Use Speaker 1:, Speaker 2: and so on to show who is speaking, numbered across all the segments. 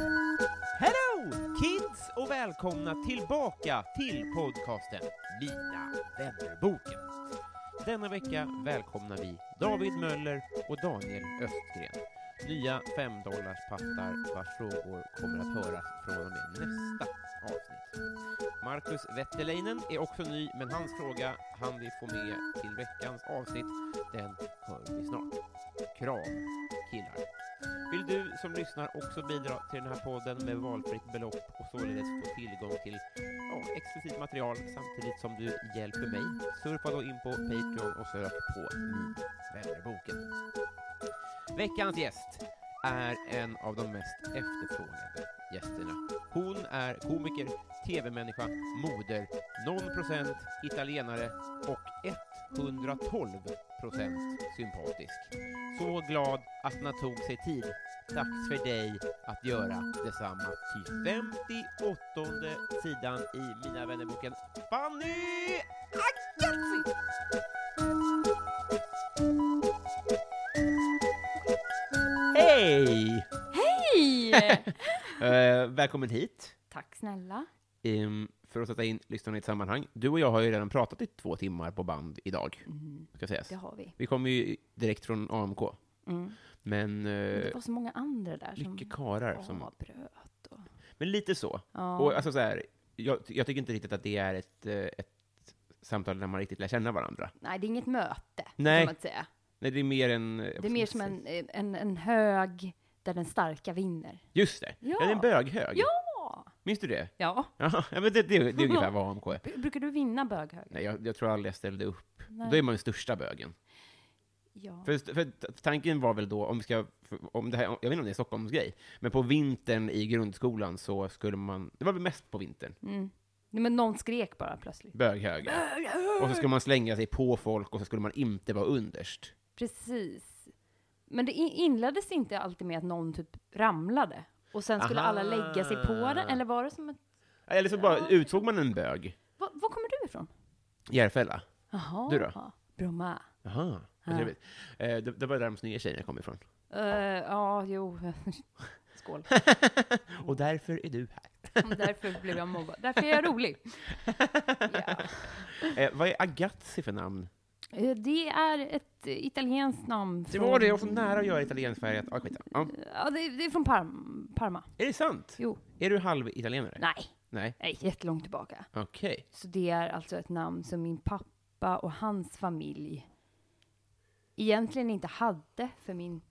Speaker 1: Hello kids och välkomna tillbaka till podcasten Mina vännerboken. Denna vecka välkomnar vi David Möller och Daniel Östgren. Nya femdollarspattar vars frågor kommer att höras från och med nästa avsnitt. Marcus Wetterleinen är också ny, men hans fråga han vi få med till veckans avsnitt, den hör vi snart. Kram, killar. Vill du som lyssnar också bidra till den här podden med valfritt belopp och således få tillgång till ja, exklusivt material samtidigt som du hjälper mig? Surfa då in på Patreon och sök på Min vännerboken. Veckans gäst är en av de mest efterfrågade gästerna. Hon är komiker, tv-människa, moder, 0% italienare och 112% sympatisk. Så glad att han tog sig tid. Dags för dig att göra detsamma. Till 58 sidan i Mina vännerboken Fanny Agassi! Hej!
Speaker 2: Hej!
Speaker 1: Eh, välkommen hit.
Speaker 2: Tack snälla.
Speaker 1: Ehm, för att sätta in lyssnarna i ett sammanhang. Du och jag har ju redan pratat i två timmar på band idag. Ska sägas.
Speaker 2: Mm. Det har vi.
Speaker 1: Vi kommer ju direkt från AMK.
Speaker 2: Mm.
Speaker 1: Men
Speaker 2: Men Det
Speaker 1: eh,
Speaker 2: var så många andra där som
Speaker 1: mycket karar som...
Speaker 2: avbröt. Och...
Speaker 1: Men lite så.
Speaker 2: Ja.
Speaker 1: Och alltså så här, jag, jag tycker inte riktigt att det är ett, eh, ett samtal där man riktigt lär känna varandra.
Speaker 2: Nej, det är inget möte.
Speaker 1: Nej.
Speaker 2: Kan man säga.
Speaker 1: Nej, det är mer en... eh,
Speaker 2: Det är mer som en, eh, en, en hög där den starka vinner.
Speaker 1: Just det!
Speaker 2: Ja.
Speaker 1: Ja. Det är en böghög.
Speaker 2: Ja!
Speaker 1: Minns du det?
Speaker 2: Ja.
Speaker 1: Ja, men det, det, det är ungefär vad AMK är.
Speaker 2: B- Brukar du vinna böghögen?
Speaker 1: Nej, jag, jag tror aldrig jag ställde upp.
Speaker 2: Nej.
Speaker 1: Då är man ju största bögen.
Speaker 2: Ja.
Speaker 1: För, för t- tanken var väl då, om vi ska, för- om det här, jag vet inte om det är Stockholms grej, men på vintern i grundskolan så skulle man, det var väl mest på vintern,
Speaker 2: Nej, men någon skrek bara plötsligt.
Speaker 1: böghöga. Och så skulle man slänga sig på folk och så skulle man inte vara underst.
Speaker 2: Precis. Men det in- inleddes inte alltid med att någon typ ramlade och sen skulle
Speaker 1: Aha.
Speaker 2: alla lägga sig på den, eller var det som ett...
Speaker 1: Eller så bara utsåg man en bög.
Speaker 2: Var, var kommer du ifrån?
Speaker 1: Järfälla.
Speaker 2: Jaha.
Speaker 1: Du då?
Speaker 2: Bromma.
Speaker 1: Jaha, vad
Speaker 2: Ja.
Speaker 1: trevligt. Eh, det, det var där de snygga tjejerna kom ifrån.
Speaker 2: Eh, ja, jo. Skål.
Speaker 1: Och därför är du här.
Speaker 2: Därför blev jag mobbad. Därför är jag rolig. Ja.
Speaker 1: Eh, vad är Agazzi för namn?
Speaker 2: Eh, Det är ett eh, italienskt namn.
Speaker 1: Det
Speaker 2: Från,
Speaker 1: var det, jag var så nära att göra italienskfärgat. Ah, skit. ja,
Speaker 2: Ja, det, det är från Parm, Parma.
Speaker 1: är det sant?
Speaker 2: Eh, Jo.
Speaker 1: Är du halvitalienare?
Speaker 2: Nej,
Speaker 1: Nej.
Speaker 2: nej, jättelångt tillbaka.
Speaker 1: Okej.
Speaker 2: Så det är alltså ett namn som min pappa och hans familj egentligen inte hade, för min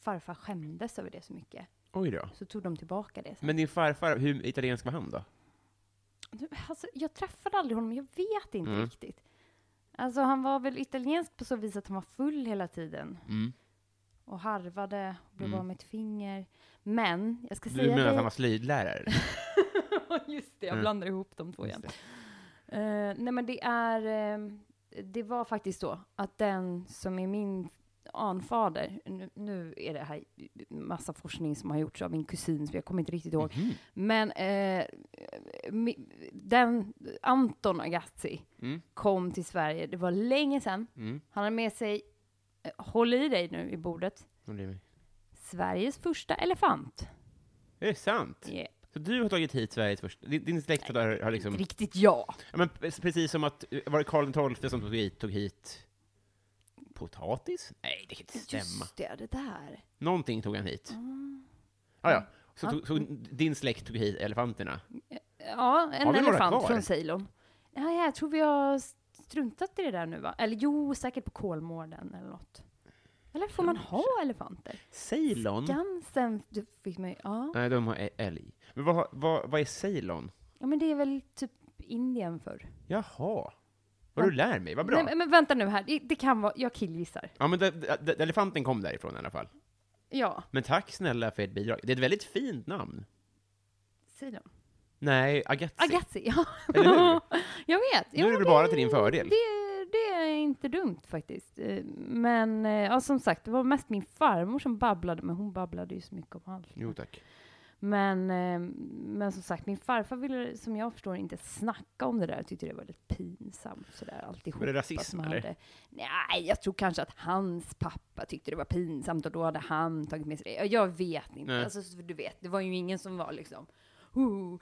Speaker 2: farfar skämdes över det så mycket.
Speaker 1: Oj då.
Speaker 2: Så tog de tillbaka det. sen.
Speaker 1: Men din farfar, hur italiensk var han då?
Speaker 2: Du, Alltså, jag träffade aldrig honom, jag vet inte
Speaker 1: Mm.
Speaker 2: riktigt. Alltså, han var väl italiensk på så vis att han var full hela tiden. och harvade, blev
Speaker 1: Mm.
Speaker 2: av med ett finger. Men, jag ska
Speaker 1: Du
Speaker 2: säga
Speaker 1: menar att
Speaker 2: dig...
Speaker 1: han var slöjdlärare?
Speaker 2: Just det, jag
Speaker 1: Mm.
Speaker 2: blandar ihop de två igen.
Speaker 1: Just
Speaker 2: Eh, nej men det är, eh, det var faktiskt så att den som är min anfader, nu, nu är det här massa forskning som har gjorts av min kusin, så jag kommer inte riktigt ihåg.
Speaker 1: Mhm.
Speaker 2: Men eh, mi- den, Anton Agazzi,
Speaker 1: Mm.
Speaker 2: kom till Sverige, det var länge sedan.
Speaker 1: Mm.
Speaker 2: Han hade med sig, eh, håll i dig nu i bordet,
Speaker 1: Vad blir det?
Speaker 2: Sveriges första elefant.
Speaker 1: Är det sant?
Speaker 2: Yeah.
Speaker 1: Så du har tagit hit Sveriges första... Din, din släkt har, har liksom...
Speaker 2: Inte riktigt ja.
Speaker 1: eh, Ja, men precis som att, var det Karl XII som tog hit, tog hit potatis? Nej, det kan inte stämma.
Speaker 2: Just det, det där.
Speaker 1: Någonting tog han hit. Ah, ja. Så,
Speaker 2: Ja.
Speaker 1: tog, så din släkt tog hit elefanterna?
Speaker 2: Ja,
Speaker 1: Har
Speaker 2: en
Speaker 1: vi några
Speaker 2: elefant
Speaker 1: kvar?
Speaker 2: från Ceylon. Ja, jag tror vi har struntat i det där nu va? Eller jo, säkert på Kolmården eller något. Eller får man ha elefanter?
Speaker 1: Ceylon?
Speaker 2: Skansen du fick mig, ja.
Speaker 1: Nej, de har ä- älg. Men vad, har- vad, vad är Ceylon?
Speaker 2: ja. men det är väl typ Indien förr.
Speaker 1: Jaha. Vad du lär mig, vad bra.
Speaker 2: Nej, men vänta nu här, det, det kan vara, jag killgissar.
Speaker 1: Ja, men de, de, de, elefanten kom därifrån i alla fall.
Speaker 2: Ja,
Speaker 1: Men tack snälla för ert bidrag. Det är ett väldigt fint namn.
Speaker 2: Ceylon.
Speaker 1: Nej, Agatzi.
Speaker 2: Agassi, ja.
Speaker 1: Eller hur?
Speaker 2: Jag vet.
Speaker 1: Nu är det bara till din fördel.
Speaker 2: Det, det är inte dumt faktiskt. Eh, Men eh, ja, som sagt, det var mest min farmor som babblade, men hon babblade ju så mycket om allt.
Speaker 1: Jo tack.
Speaker 2: Men, eh, men som sagt, min farfar ville, som jag förstår, inte snacka om det där. Tyckte det var lite pinsamt sådär alltihop.
Speaker 1: Var det
Speaker 2: att
Speaker 1: rasism,
Speaker 2: man
Speaker 1: eller?
Speaker 2: hade- Nej, jag tror kanske att hans pappa tyckte det var pinsamt och då hade han tagit med sig det. Jag vet inte.
Speaker 1: Nej.
Speaker 2: Alltså, så du vet, det var ju ingen som var liksom, oh,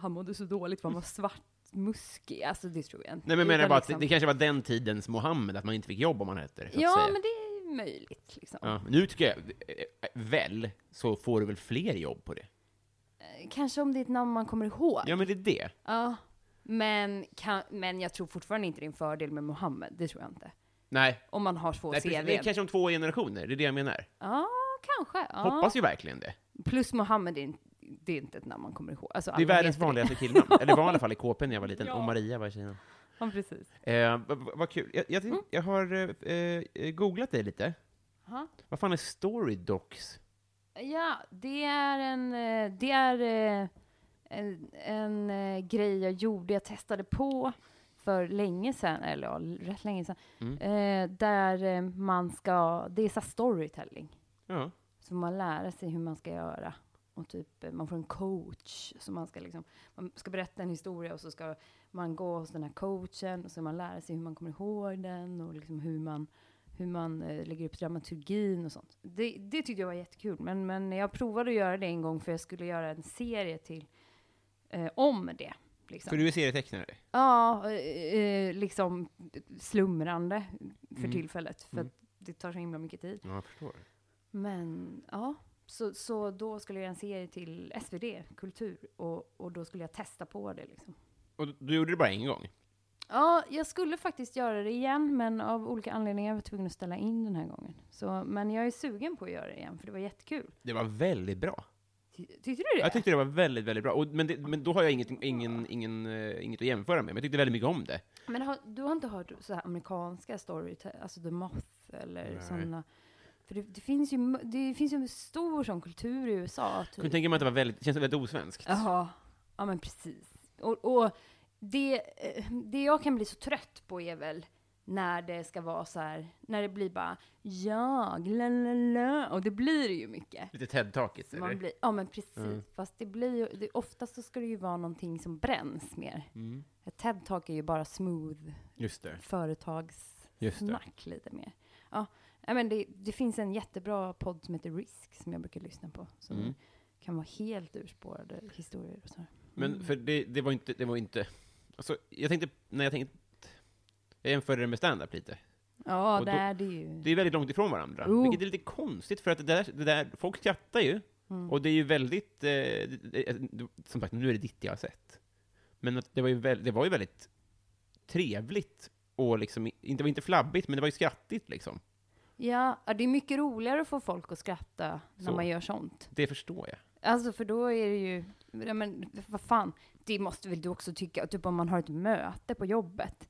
Speaker 2: han mådde så dåligt för han var svartmuskig. Alltså det tror jag inte.
Speaker 1: Nej men jag menar
Speaker 2: Utan
Speaker 1: bara att
Speaker 2: liksom-
Speaker 1: det, det kanske var den tidens Mohammed, att man inte fick jobb om man hette så att
Speaker 2: Ja,
Speaker 1: säga.
Speaker 2: men det är möjligt liksom.
Speaker 1: Ja, nu tycker jag, eh, eh, väl, så får du väl fler jobb på det?
Speaker 2: Kanske om det är ett namn man kommer ihåg.
Speaker 1: Ja men det är det.
Speaker 2: Ja. Men, kan, men jag tror fortfarande inte det är en fördel med Mohammed, det tror jag inte.
Speaker 1: Nej,
Speaker 2: Om man har två
Speaker 1: Nej, precis,
Speaker 2: CVn.
Speaker 1: det är kanske om två generationer, det är det jag menar.
Speaker 2: Ja, kanske. Ja.
Speaker 1: Hoppas ju verkligen det.
Speaker 2: Plus Mohammed, är, in- det är inte ett namn man kommer ihåg. Alltså,
Speaker 1: Det är
Speaker 2: alla
Speaker 1: världens
Speaker 2: heter det.
Speaker 1: vanligaste killnamn. Eller var i alla fall i KP när jag var liten,
Speaker 2: Ja.
Speaker 1: och Maria var i Kina.
Speaker 2: Ja, precis.
Speaker 1: Eh, vad- vad vad kul. Jag, jag,
Speaker 2: Mm.
Speaker 1: jag har eh, eh, googlat dig lite.
Speaker 2: Ja.
Speaker 1: Vad fan är Storydocs?
Speaker 2: Ja, det är en... eh, Det är eh, en, en eh, grej jag gjorde, jag testade på för länge sedan, eller ja, rätt länge sedan,
Speaker 1: Mm.
Speaker 2: eh, där eh, man ska... Det är så här storytelling.
Speaker 1: Ja.
Speaker 2: Så man lär sig hur man ska göra. Och typ, eh, man får en coach. Så man ska liksom, man ska berätta en historia och så ska man gå hos den här coachen. Och så ska man lära sig hur man kommer ihåg den och liksom hur man, hur man eh, lägger upp dramaturgin och sånt. Det, det tyckte jag var jättekul. Men, men jag provade att göra det en gång för jag skulle göra en serie till eh, om det. Liksom.
Speaker 1: För du är serietecknare?
Speaker 2: Ja, eh, eh, liksom slumrande för
Speaker 1: Mm.
Speaker 2: tillfället. För
Speaker 1: Mm.
Speaker 2: att det tar så himla mycket tid.
Speaker 1: Ja, jag förstår.
Speaker 2: Men ja, så, så då skulle jag göra en serie till SvD Kultur och, och då skulle jag testa på det liksom.
Speaker 1: Och du gjorde det bara en gång?
Speaker 2: Ja, jag skulle faktiskt göra det igen, men av olika anledningar var jag tvungen att ställa in den här gången. Så, men jag är sugen på att göra det igen, för det var jättekul.
Speaker 1: Det var väldigt bra.
Speaker 2: Ty, tyckte du det?
Speaker 1: Jag tyckte det var väldigt, väldigt bra. Och, men, det, men då har jag inget, ingen, ingen, eh, inget att jämföra med, men jag tyckte väldigt mycket om det.
Speaker 2: Men har, du har inte hört så här amerikanska story, alltså The Moth eller
Speaker 1: Nej.
Speaker 2: sådana? För det, det, finns ju, m- det finns ju en stor sån kultur i USA. typ.
Speaker 1: Kunde tänka mig att det var väldigt, det känns väldigt osvenskt.
Speaker 2: Jaha, ja men precis. Och, och det, eh, det jag kan bli så trött på är väl när det ska vara så här, när det blir bara jag, la la la, och det blir det ju mycket.
Speaker 1: Lite TED-talkigt,
Speaker 2: Så Man
Speaker 1: eller?
Speaker 2: blir, ja men precis,
Speaker 1: Mm.
Speaker 2: fast det blir ju, det, oftast så ska det ju vara någonting som bränns mer.
Speaker 1: Mm.
Speaker 2: Ett TED-talk är ju bara smooth
Speaker 1: Just det. Just det.
Speaker 2: företagssnack lite mer. Ja, nej, men det, det finns en jättebra podd som heter Risk som jag brukar lyssna på. Som
Speaker 1: Mm.
Speaker 2: kan vara helt urspårade historier och så. här.
Speaker 1: Men för det, det var inte, det var inte... Alltså, jag tänkte, när jag tänkte... Jag jämförde det med stand-up lite.
Speaker 2: Ja,
Speaker 1: Och då-
Speaker 2: det är det ju.
Speaker 1: Det är väldigt långt ifrån varandra,
Speaker 2: Oh.
Speaker 1: vilket är lite konstigt, för att det där, det där folk skrattar ju,
Speaker 2: Mm.
Speaker 1: och det är ju väldigt... Eh, det- det- som sagt, nu är det ditt jag har sett. Men att det, var ju väl, det var ju väldigt trevligt, och liksom, inte, det var inte flabbigt, men det var ju skrattigt liksom.
Speaker 2: Ja, ja, det är mycket roligare att få folk att skratta när
Speaker 1: Så.
Speaker 2: man gör sånt.
Speaker 1: Det förstår jag.
Speaker 2: Alltså, för då är det ju... Ja, men vad fan, det måste väl du också tycka, typ om man har ett möte på jobbet.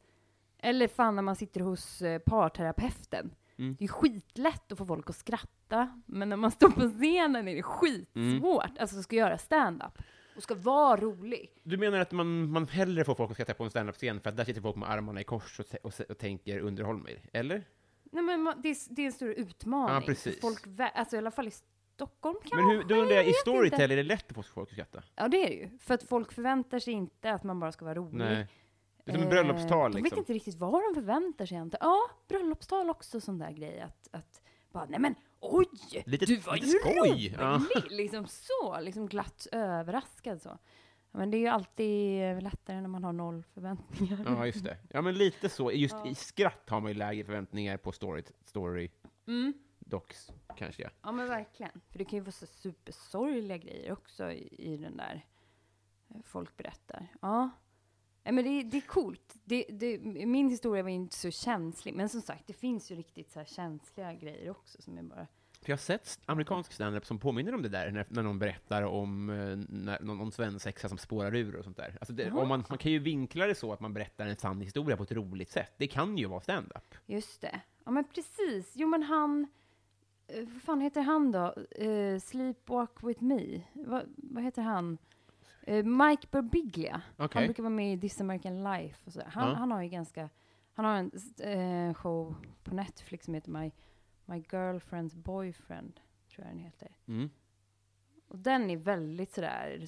Speaker 2: Eller fan när man sitter hos eh, parterapeuten.
Speaker 1: Mm.
Speaker 2: Det är skitlätt att få folk att skratta, men när man står på scenen
Speaker 1: Mm.
Speaker 2: är det skitsvårt. Alltså, ska göra stand-up och ska vara rolig.
Speaker 1: Du menar att man, man hellre får folk att skratta på en standup-scen för att där sitter folk med armarna i kors och, t- och, s- och tänker underhåll mig, eller?
Speaker 2: Nej, men man, det, är, s- det är en stor utmaning.
Speaker 1: Ja,
Speaker 2: för
Speaker 1: precis.
Speaker 2: Folk, vä- alltså i alla fall i Stockholm kanske.
Speaker 1: Men hur, då undrar jag, i
Speaker 2: vet inte.
Speaker 1: Storytel är det lätt att få folk att skratta?
Speaker 2: Ja, det är det ju. För att folk förväntar sig inte att man bara ska vara rolig.
Speaker 1: Nej. Det är som ett
Speaker 2: Eh,
Speaker 1: bröllopstal
Speaker 2: De vet
Speaker 1: liksom.
Speaker 2: inte riktigt vad de förväntar sig. Inte. Ja, bröllopstal också sån där grej att, att bara, nej men oj,
Speaker 1: Lite-
Speaker 2: du var
Speaker 1: lite
Speaker 2: ju
Speaker 1: skoj.
Speaker 2: rolig!
Speaker 1: Ja.
Speaker 2: Liksom så, liksom glatt överraskad så. Men det är ju alltid lättare när man har noll förväntningar.
Speaker 1: Ja, just det. Ja, men lite så. Just i skratt har man ju lägre förväntningar på story, story
Speaker 2: Mm.
Speaker 1: docs, kanske.
Speaker 2: Ja men verkligen. För det kan ju vara så supersorgliga grejer också i, i den där eh, folk berättar. Ja. Nej, men det, det är coolt. Det, det, min historia var ju inte så känslig. Men som sagt, det finns ju riktigt så här känsliga grejer också som är bara...
Speaker 1: För jag har sett st- amerikansk standup som påminner om det där, när, när någon berättar om eh, när, någon, någon svensexa som spårar ur och sånt där. Alltså det, om man, man kan ju vinkla det så att man berättar en sann historia på ett roligt sätt. Det kan ju vara standup.
Speaker 2: Just det. Ja men precis. Jo men han... eh, Vad fan heter han då? Eh, Sleepwalk with me. Va, vad heter han? Eh, Mike Birbiglia. Han
Speaker 1: Okej.
Speaker 2: brukar vara med i This American Life och så. Han,
Speaker 1: Ja.
Speaker 2: han har ju ganska... Han har en eh, show på Netflix som heter My, My Girlfriend's Boyfriend, tror jag den heter.
Speaker 1: Mm.
Speaker 2: Och den är väldigt sådär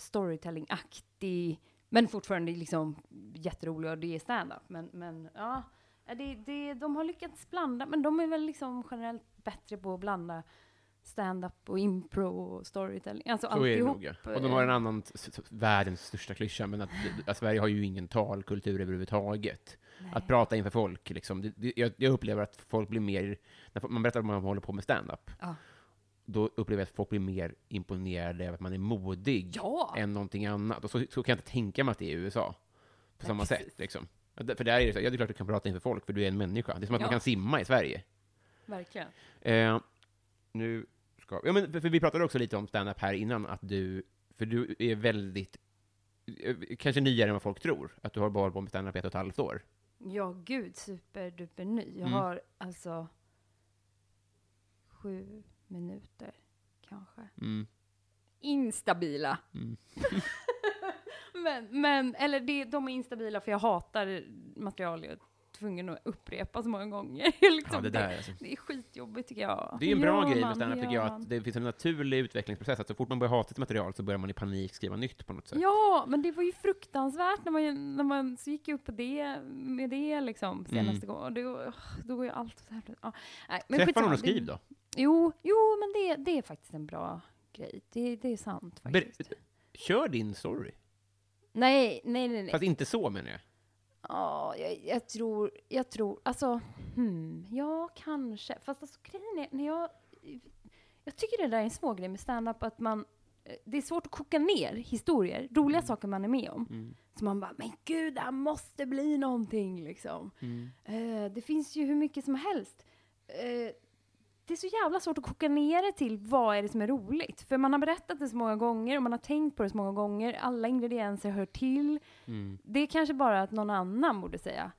Speaker 2: storytelling-aktig, men fortfarande liksom jätterolig och det är stand-up. Men, men ja, Ja, det, det, de har lyckats blanda, men de är väl liksom generellt bättre på att blanda stand-up och impro och storytelling. Alltså
Speaker 1: Så är det
Speaker 2: alltihop.
Speaker 1: nog, ja. Och de har en annan, s- s- världens största klyscha, men att, att Sverige har ju ingen talkultur överhuvudtaget. Att prata inför folk, liksom. det, det, jag, jag upplever att folk blir mer, när man berättar att man håller på med stand-up,
Speaker 2: Ja.
Speaker 1: då upplever jag att folk blir mer imponerade över att man är modig
Speaker 2: Ja!
Speaker 1: än någonting annat. Och så, så kan jag inte tänka mig att det är i USA, på
Speaker 2: Nej,
Speaker 1: samma
Speaker 2: precis.
Speaker 1: sätt. Liksom. Att det- För där är det så, här, ja det är klart du kan prata inför folk, för du är en människa. Det är som att
Speaker 2: Ja.
Speaker 1: man kan simma i Sverige.
Speaker 2: Verkligen.
Speaker 1: Eh, nu ska ja, men för, för vi pratade också lite om stand-up här innan, att du, för du är väldigt, eh, kanske nyare än vad folk tror, att du har bara hållit på med stand-up i ett och ett halvt år.
Speaker 2: Ja, gud, superduper ny. Jag
Speaker 1: Mm.
Speaker 2: har alltså sju minuter, kanske.
Speaker 1: Mm.
Speaker 2: Instabila.
Speaker 1: Mm.
Speaker 2: men, men, eller det, de är instabila för jag hatar material jag är tvungen att upprepa så många gånger. liksom
Speaker 1: Ja, det, där, alltså.
Speaker 2: det är skitjobbigt tycker jag.
Speaker 1: det är ju en bra
Speaker 2: Ja,
Speaker 1: grej med
Speaker 2: man,
Speaker 1: stand-up, tycker
Speaker 2: ja,
Speaker 1: jag,
Speaker 2: man.
Speaker 1: att det finns en naturlig utvecklingsprocess, att så fort man börjar hata ett material så börjar man i panik skriva nytt på något sätt.
Speaker 2: Ja, men det var ju fruktansvärt när man, när man så gick jag upp på det, med det
Speaker 1: Mm.
Speaker 2: liksom senaste gången. Och då, då går ju allt åt helvete. Ja, nej, men
Speaker 1: Träffa
Speaker 2: skitsamma.
Speaker 1: någon och
Speaker 2: Det-
Speaker 1: skriv då.
Speaker 2: Jo, jo men det, det är faktiskt en bra grej. Det, det är sant faktiskt.
Speaker 1: Ber- Kör din story.
Speaker 2: nej, nej, nej. nej.
Speaker 1: Fast inte så menar jag.
Speaker 2: Ja, jag, jag tror, jag tror, alltså, hmm, ja, kanske. Fast alltså grejen är, när jag, jag tycker det där är en små grej med stand-up att man, eh, det är svårt att koka ner historier, roliga saker man är med om. Så man bara, men gud, det här måste bli någonting liksom. Eh, det finns ju hur mycket som helst. Eh, det är så jävla svårt att koka ner det till vad är det som är roligt. För man har berättat det så många gånger och man har tänkt på det så många gånger. Alla ingredienser hör till. Det är kanske bara att någon annan borde säga,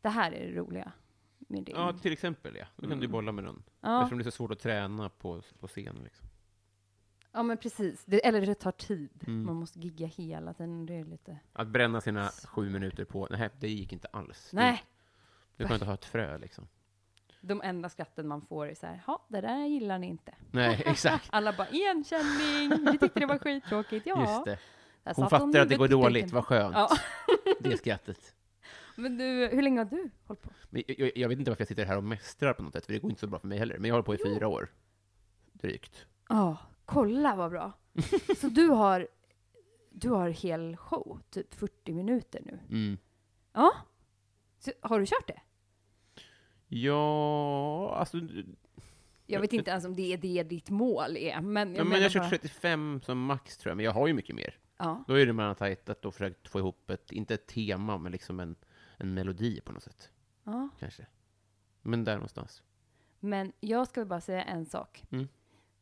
Speaker 2: det här är det roliga med din.
Speaker 1: Ja, till exempel ja. Då kan du bolla med någon.
Speaker 2: Ja.
Speaker 1: Eftersom det är så svårt att träna på, på scen. Liksom.
Speaker 2: Ja, men precis. Det, eller det tar tid.
Speaker 1: Mm.
Speaker 2: Man måste gigga hela tiden. Det är lite...
Speaker 1: Att bränna sina sju minuter på, nej, det gick inte alls. Det-
Speaker 2: Nej!
Speaker 1: Du kan inte ha ett frö liksom.
Speaker 2: De enda skratten man får är så här, ja, det där gillar ni inte.
Speaker 1: Nej, exakt.
Speaker 2: Alla bara, igenkänning, vi tyckte det var skittråkigt. Ja,
Speaker 1: Just det. Hon
Speaker 2: Där satt hon
Speaker 1: fattar att det går
Speaker 2: huvudet i
Speaker 1: dåligt,
Speaker 2: duken.
Speaker 1: vad skönt.
Speaker 2: typ Ja.
Speaker 1: Det skrattet.
Speaker 2: Men du, hur länge har du hållit på?
Speaker 1: Men jag- jag, jag vet inte varför jag sitter här och mästrar på något sätt, för det går inte så bra för mig heller. Men jag har hållit på i fyra år. Drygt.
Speaker 2: Ja, kolla vad bra. Så du har, du har hel show, typ 40 minuter nu.
Speaker 1: Mm.
Speaker 2: Ja. Så, har du kört det?
Speaker 1: Ja, alltså...
Speaker 2: Jag vet inte ens om det är det ditt mål är, men jag
Speaker 1: Jag, men
Speaker 2: menar
Speaker 1: jag har kört
Speaker 2: bara-
Speaker 1: 35 som max tror jag, men jag har ju mycket mer.
Speaker 2: Ja.
Speaker 1: Då är det man har tajtat och försökt få ihop ett, inte ett tema, men liksom en, en melodi på något sätt.
Speaker 2: ja.
Speaker 1: Kanske. Men där någonstans.
Speaker 2: Men jag ska väl bara säga en sak.
Speaker 1: Mm.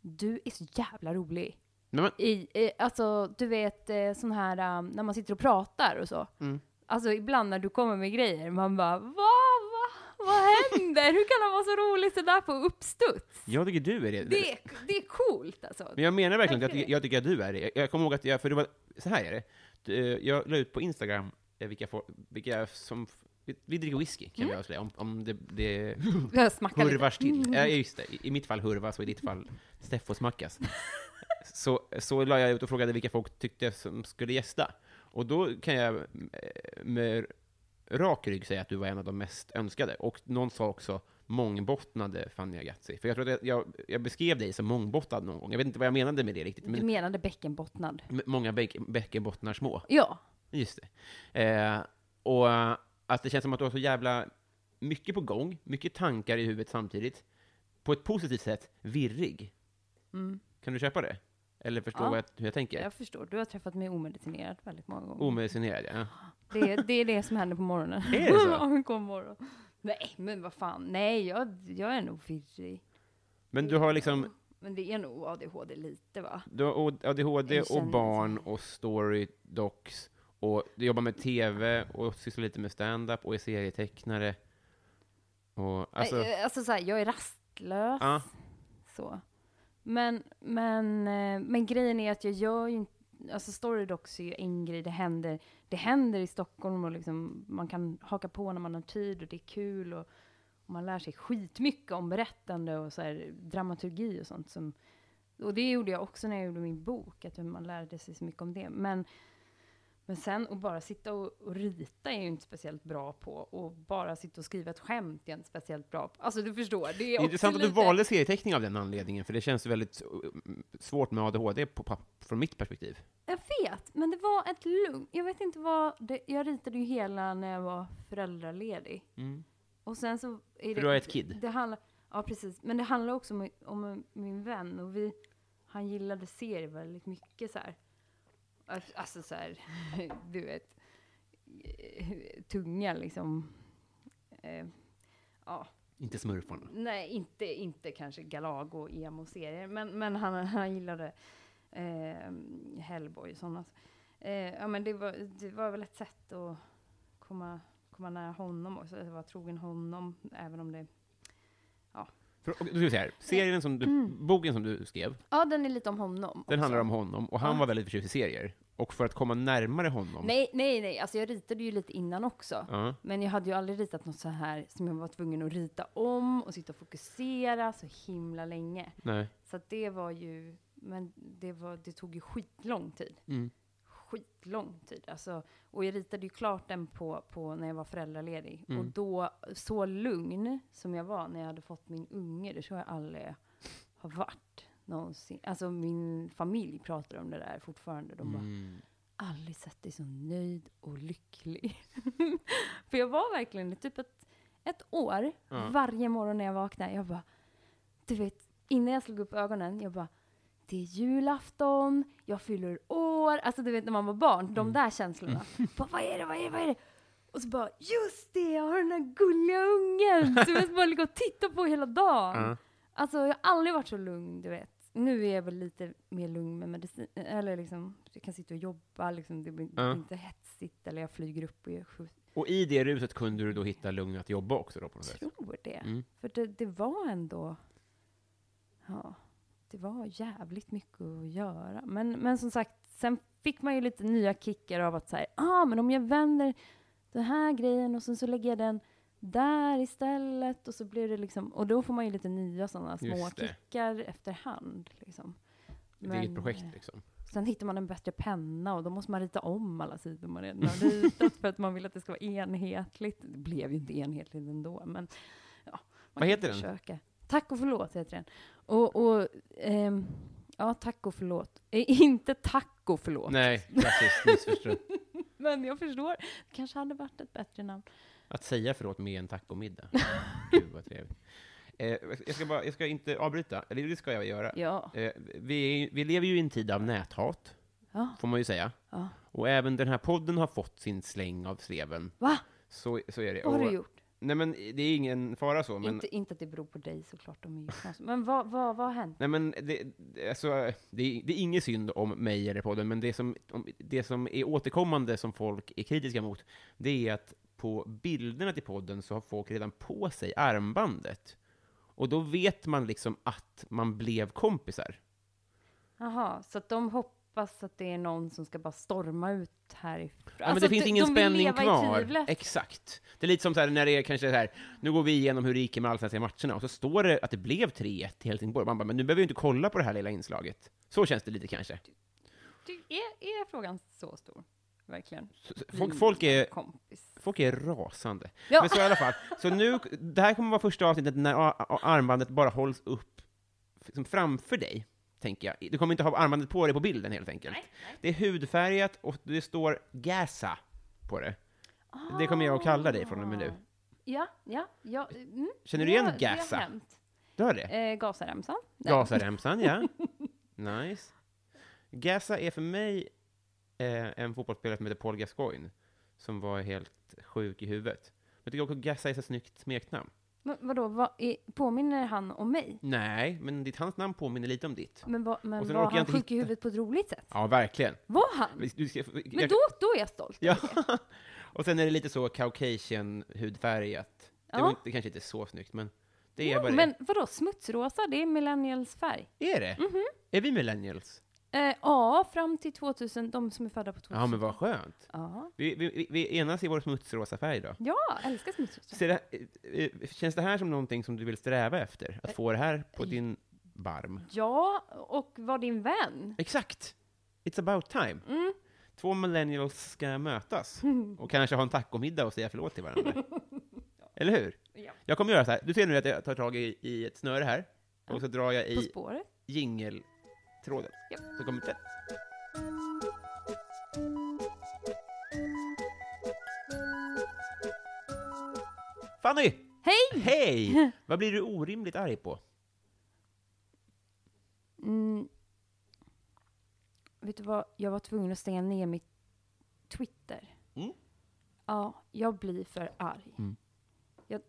Speaker 2: Du är så jävla rolig.
Speaker 1: Nej, men,
Speaker 2: I, eh, alltså, du vet eh, sån här um, när man sitter och pratar och så.
Speaker 1: Mm.
Speaker 2: Alltså ibland när du kommer med grejer, man bara va, va, vad händer? Hur kan han vara så rolig sådär på uppstuds?
Speaker 1: jag tycker du är det.
Speaker 2: Det, är- det är coolt alltså.
Speaker 1: Men jag menar verkligen att jag,
Speaker 2: Verkligen.
Speaker 1: tycker- jag tycker att du är det. Jag, jag kommer ihåg att jag, för det var, så här är det. Du, eh, Jag la ut på Instagram eh, vilka, folk- vilka som, vi, vi dricker whisky kan
Speaker 2: Mm.
Speaker 1: vi avslöja, om, om det, det
Speaker 2: Jag smackar lite.
Speaker 1: hurvars till. Ja, just det. I, I mitt fall hurvas och i ditt fall Steffosmackas. Så, så la jag ut och frågade vilka folk tyckte som skulle gästa. Och då kan jag eh, med rak rygg säga att du var en av de mest önskade. Och någon sa också, mångbottnade Fanny Agazzi. För jag tror att jag, jag, jag beskrev dig som mångbottnad någon gång. Jag vet inte vad jag menade med det riktigt.
Speaker 2: Du
Speaker 1: Men
Speaker 2: menade bäckenbottnad?
Speaker 1: m- många bäck, bäckenbottnar små.
Speaker 2: Ja.
Speaker 1: Just det. Eh, och eh, att det känns som att du har så jävla mycket på gång, mycket tankar i huvudet samtidigt. På ett positivt sätt, virrig.
Speaker 2: Mm.
Speaker 1: Kan du köpa det? Eller förstå
Speaker 2: Ja.
Speaker 1: vad jag, hur jag tänker?
Speaker 2: Jag förstår. Du har träffat mig omedicinerat väldigt många gånger.
Speaker 1: Omedicinerad, ja.
Speaker 2: Det, är- det är det som händer på morgonen.
Speaker 1: Är det så?
Speaker 2: Ja, God morgon. Nej, men vad fan. Nej, jag, jag är nog virrig.
Speaker 1: Men du har liksom
Speaker 2: Men det är nog ADHD lite, va?
Speaker 1: du har O- ADHD
Speaker 2: Jag
Speaker 1: och
Speaker 2: känner-
Speaker 1: barn och story docs och du jobbar med TV och sysslar lite med stand-up och är serietecknare. Och, alltså,
Speaker 2: Alltså, alltså så här, jag är rastlös.
Speaker 1: Ja.
Speaker 2: Så. Men, men, eh, men grejen är att jag gör ju inte Alltså Storydocs är ju en grej, det händer, det händer i Stockholm och liksom, man kan haka på när man har tid och det är kul och, och man lär sig skitmycket om berättande och så här, dramaturgi och sånt. Som, och det gjorde jag också när jag gjorde min bok, att man lärde sig så mycket om det. Men, men sen att bara sitta och, och rita är jag ju inte speciellt bra på. Och bara sitta och skriva ett skämt är jag inte speciellt bra på. Alltså du förstår, det är,
Speaker 1: det är
Speaker 2: också
Speaker 1: intressant att du
Speaker 2: lite-
Speaker 1: valde serieteckning av den anledningen, för det känns väldigt eh, svårt med ADHD på, papp- från mitt perspektiv.
Speaker 2: Jag vet, men det var ett lugn. Jag vet inte vad... Det, jag ritade ju hela när jag var föräldraledig. Och sen så... Är
Speaker 1: Mm. För du har ett kid.
Speaker 2: Det handlar, ja, precis. Men det handlar också om, om min vän. Och vi, han gillade serier väldigt mycket så här. Alltså så här, du vet. eh, Tunga liksom. Eh, ja.
Speaker 1: Inte smurfarna.
Speaker 2: Nej, inte, inte kanske Galago, emo-serier, men, men han, han gillade eh, Hellboy och sådana. Eh, ja, men det var, det var väl ett sätt att komma, komma nära honom och så att vara trogen honom, även om det...
Speaker 1: För, och, du ska säga här, serien som du,
Speaker 2: Mm.
Speaker 1: boken som du skrev,
Speaker 2: Ja, den är lite om honom.
Speaker 1: den
Speaker 2: också.
Speaker 1: handlar om honom, och han
Speaker 2: Ja.
Speaker 1: var väldigt förtjust i serier. Och för att komma närmare honom...
Speaker 2: Nej, nej, nej, alltså jag ritade ju lite innan också.
Speaker 1: Ja.
Speaker 2: Men jag hade ju aldrig ritat något så här som jag var tvungen att rita om och sitta och fokusera så himla länge.
Speaker 1: nej.
Speaker 2: Så att det var ju, men det, var, det tog ju skitlång tid.
Speaker 1: Mm.
Speaker 2: Skitlång tid. Alltså, och jag ritade ju klart den på, på när jag var föräldraledig. Och
Speaker 1: Mm.
Speaker 2: då, så lugn som jag var när jag hade fått min unge, det tror jag aldrig har varit någonsin. Alltså min familj pratar om det där fortfarande. De bara,
Speaker 1: Mm.
Speaker 2: aldrig sett dig så nöjd och lycklig. För jag var verkligen i typ ett, ett år,
Speaker 1: Ja.
Speaker 2: varje morgon när jag vaknade, jag bara, du vet, innan jag slog upp ögonen, jag bara, det är julafton, jag fyller år, alltså du vet när man var barn,
Speaker 1: Mm.
Speaker 2: de där känslorna. Bara, vad är det, vad är det, vad är det? Och så bara, just det, jag har den där gulliga ungen som jag bara ligger och tittar på hela dagen.
Speaker 1: Ja.
Speaker 2: Alltså jag har aldrig varit så lugn, du vet. Nu är jag väl lite mer lugn med medicin, eller liksom, jag kan sitta och jobba, liksom, det blir
Speaker 1: Ja.
Speaker 2: inte hetsigt, eller jag flyger upp och jag skjuts.
Speaker 1: Och i det ruset kunde du då hitta lugn att jobba också då på något
Speaker 2: Jag
Speaker 1: sätt?
Speaker 2: tror det.
Speaker 1: Mm.
Speaker 2: För det, det var ändå, ja, det var jävligt mycket att göra. Men, men som sagt, sen fick man ju lite nya kickar av att säga, ah, men om jag vänder den här grejen och sen så lägger jag den där istället och så blir det liksom, och då får man ju lite nya sådana små
Speaker 1: Just det.
Speaker 2: kickar efterhand. Liksom.
Speaker 1: Ett eget projekt
Speaker 2: eh,
Speaker 1: liksom.
Speaker 2: Sen hittar man en bättre penna och då måste man rita om alla sidor man redan har ritat för att man vill att det ska vara enhetligt. Det blev ju inte enhetligt ändå, men ja. man kan
Speaker 1: heter den?
Speaker 2: försöka. Tack och förlåt heter den. Och, och ehm, ja, tack och förlåt. Eh, inte tack och förlåt,
Speaker 1: Nej, klassiskt missförstånd.
Speaker 2: men jag förstår. Det kanske hade varit ett bättre namn.
Speaker 1: Att säga förlåt med en tacomiddag. Gud vad trevligt. Eh, jag, ska bara, jag ska inte avbryta, eller det ska jag göra.
Speaker 2: Ja.
Speaker 1: Eh, vi, vi lever ju i en tid av näthat,
Speaker 2: ja.
Speaker 1: får man ju säga.
Speaker 2: Ja.
Speaker 1: Och även den här podden har fått sin släng av sleven.
Speaker 2: Va?
Speaker 1: Så, så är det.
Speaker 2: Vad har
Speaker 1: Och-
Speaker 2: du gjort?
Speaker 1: Nej men det är ingen fara så, men...
Speaker 2: Inte, inte att det beror på dig såklart, de är ju knas- Men vad, vad, vad har hänt?
Speaker 1: Nej men det, det- alltså, det, är- det är ingen synd om mig i den här podden, men det som, om, det som är återkommande som folk är kritiska mot, det är att på bilderna till podden så har folk redan på sig armbandet. Och då vet man liksom att man blev kompisar.
Speaker 2: Jaha, så att de hoppas att det är någon som ska bara storma ut härifrån?
Speaker 1: Ja, men det finns
Speaker 2: Alltså, de-
Speaker 1: ingen
Speaker 2: de vill
Speaker 1: spänning
Speaker 2: leva i
Speaker 1: kvar.
Speaker 2: tvivlet.
Speaker 1: Exakt. Det är lite som så här när det är kanske så här, nu går vi igenom hur det gick i de allsvenska matcherna, och så står det att det blev 3-1 till Helsingborg. Man bara, men nu behöver vi inte kolla på det här lilla inslaget. Så känns det lite kanske.
Speaker 2: Du, är, är frågan så stor? verkligen.
Speaker 1: Så Folk, folk, är,
Speaker 2: Kompis.
Speaker 1: folk är rasande.
Speaker 2: Mm. Ja.
Speaker 1: Men så i alla fall. Så nu, det här kommer vara första avsnittet när a- a- armbandet bara hålls upp liksom framför dig, tänker jag. Du kommer inte ha armbandet på dig på bilden helt enkelt. Det är hudfärgat och det står Gaza på det. Det kommer jag att kalla dig från och med nu.
Speaker 2: Ja, ja, ja. Mm.
Speaker 1: Känner du igen
Speaker 2: Ja, det har
Speaker 1: Gaza?
Speaker 2: hänt.
Speaker 1: Du har det?
Speaker 2: Eh, Gazaremsan. Nej.
Speaker 1: Gazaremsan, ja. Nice. Gaza är för mig eh, en fotbollsspelare som heter Paul Gascoigne, som var helt sjuk i huvudet. Jag tycker också Gaza är så snyggt smeknamn.
Speaker 2: Men vadå, vad är, påminner han om mig?
Speaker 1: Nej, men ditt, hans namn påminner lite om ditt.
Speaker 2: Men, vad- men
Speaker 1: Och sen
Speaker 2: var
Speaker 1: orkar jag
Speaker 2: han
Speaker 1: inte
Speaker 2: sjuk i
Speaker 1: hitta-
Speaker 2: huvudet på ett roligt sätt?
Speaker 1: Ja, verkligen.
Speaker 2: Var han?
Speaker 1: Du ska,
Speaker 2: Men
Speaker 1: jag,
Speaker 2: då, då är jag stolt.
Speaker 1: Ja. Och sen är det lite så Caucasian-hudfärgat. Det, var
Speaker 2: Ja.
Speaker 1: inte- det kanske inte är så snyggt, men det är
Speaker 2: Jo,
Speaker 1: vad det
Speaker 2: men vadå, smutsrosa, det är millennials färg.
Speaker 1: är. Är det?
Speaker 2: Mhm.
Speaker 1: Är vi millennials?
Speaker 2: Eh, ja, fram till 2000, de som är födda på 2000.
Speaker 1: Ja, men vad skönt.
Speaker 2: Ja,
Speaker 1: Vi, vi, vi- vi enas i vår smutsrosa färg då.
Speaker 2: ja älskar smutsrosa.
Speaker 1: Ser det, eh, eh, känns det här som någonting som du vill sträva efter?
Speaker 2: Eh,
Speaker 1: Att få det här på din barm?
Speaker 2: Ja, och var din vän.
Speaker 1: Exakt! It's about time.
Speaker 2: Mm.
Speaker 1: Två millennials ska mötas och kanske ha en tacomiddag och säga förlåt till varandra. Eller hur?
Speaker 2: Ja.
Speaker 1: Jag kommer göra så här. Du ser nu att jag tar tag i, i ett snöre här och så drar jag
Speaker 2: På
Speaker 1: i
Speaker 2: spåret.
Speaker 1: jingeltråden.
Speaker 2: Japp.
Speaker 1: Så kommer det. Fanny!
Speaker 2: Hej!
Speaker 1: Hej! Vad blir du orimligt arg på?
Speaker 2: Mm. Vet du vad, jag var tvungen att stänga ner mitt Twitter.
Speaker 1: Mm.
Speaker 2: Ja, jag blir för arg. Jag,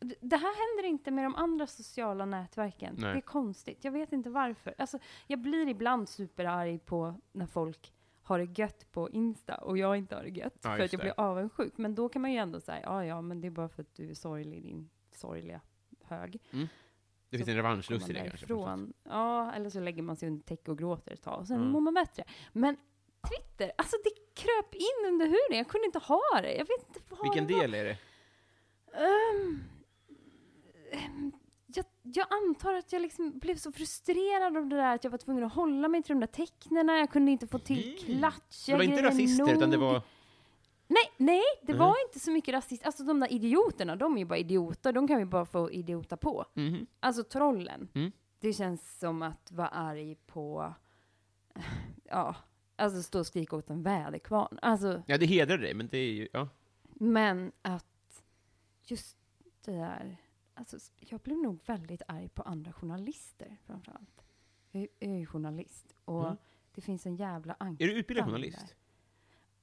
Speaker 2: d- det här händer inte med de andra sociala nätverken.
Speaker 1: Nej.
Speaker 2: Det är konstigt. Jag vet inte varför. Alltså, jag blir ibland superarg på när folk har det gött på Insta och jag inte har det gött.
Speaker 1: Ja,
Speaker 2: för
Speaker 1: just
Speaker 2: att jag
Speaker 1: det.
Speaker 2: blir avundsjuk. Men då kan man ju ändå säga, ja ja, men det är bara för att du är sorglig, din sorgliga hög
Speaker 1: Det finns
Speaker 2: Så
Speaker 1: en revanschlust i
Speaker 2: komma
Speaker 1: det kanske. på något sätt.
Speaker 2: därifrån. Ja, eller så lägger man sig under täcke och gråter ett tag och sen
Speaker 1: Mm.
Speaker 2: mår man bättre. Men Twitter, alltså det kröp in under huden. Jag kunde inte ha det. Jag vet inte vad
Speaker 1: Vilken
Speaker 2: det var.
Speaker 1: del är det?
Speaker 2: Ehm, ehm, jag, jag antar att jag liksom blev så frustrerad av det där att jag var tvungen att hålla mig till de där tecknena. Jag kunde inte få till
Speaker 1: Mm.
Speaker 2: klatsch.
Speaker 1: Det var inte rasister, utan det var...
Speaker 2: Nej, nej, det
Speaker 1: Mhm.
Speaker 2: var inte så mycket rasist. Alltså de där idioterna, de är ju bara idioter. De kan vi bara få idiota på.
Speaker 1: Mhm.
Speaker 2: Alltså trollen.
Speaker 1: Mm.
Speaker 2: Det känns som att vara arg på, ja, alltså stå och skrika åt en väderkvarn. Alltså,
Speaker 1: Ja, det hedrar dig, men det är ju... Ja.
Speaker 2: men att just det där, alltså jag blev nog väldigt arg på andra journalister framförallt. Jag är- jag är ju journalist och
Speaker 1: Mm.
Speaker 2: det finns en jävla
Speaker 1: Är
Speaker 2: anka.
Speaker 1: du utbildad
Speaker 2: Fan,
Speaker 1: journalist?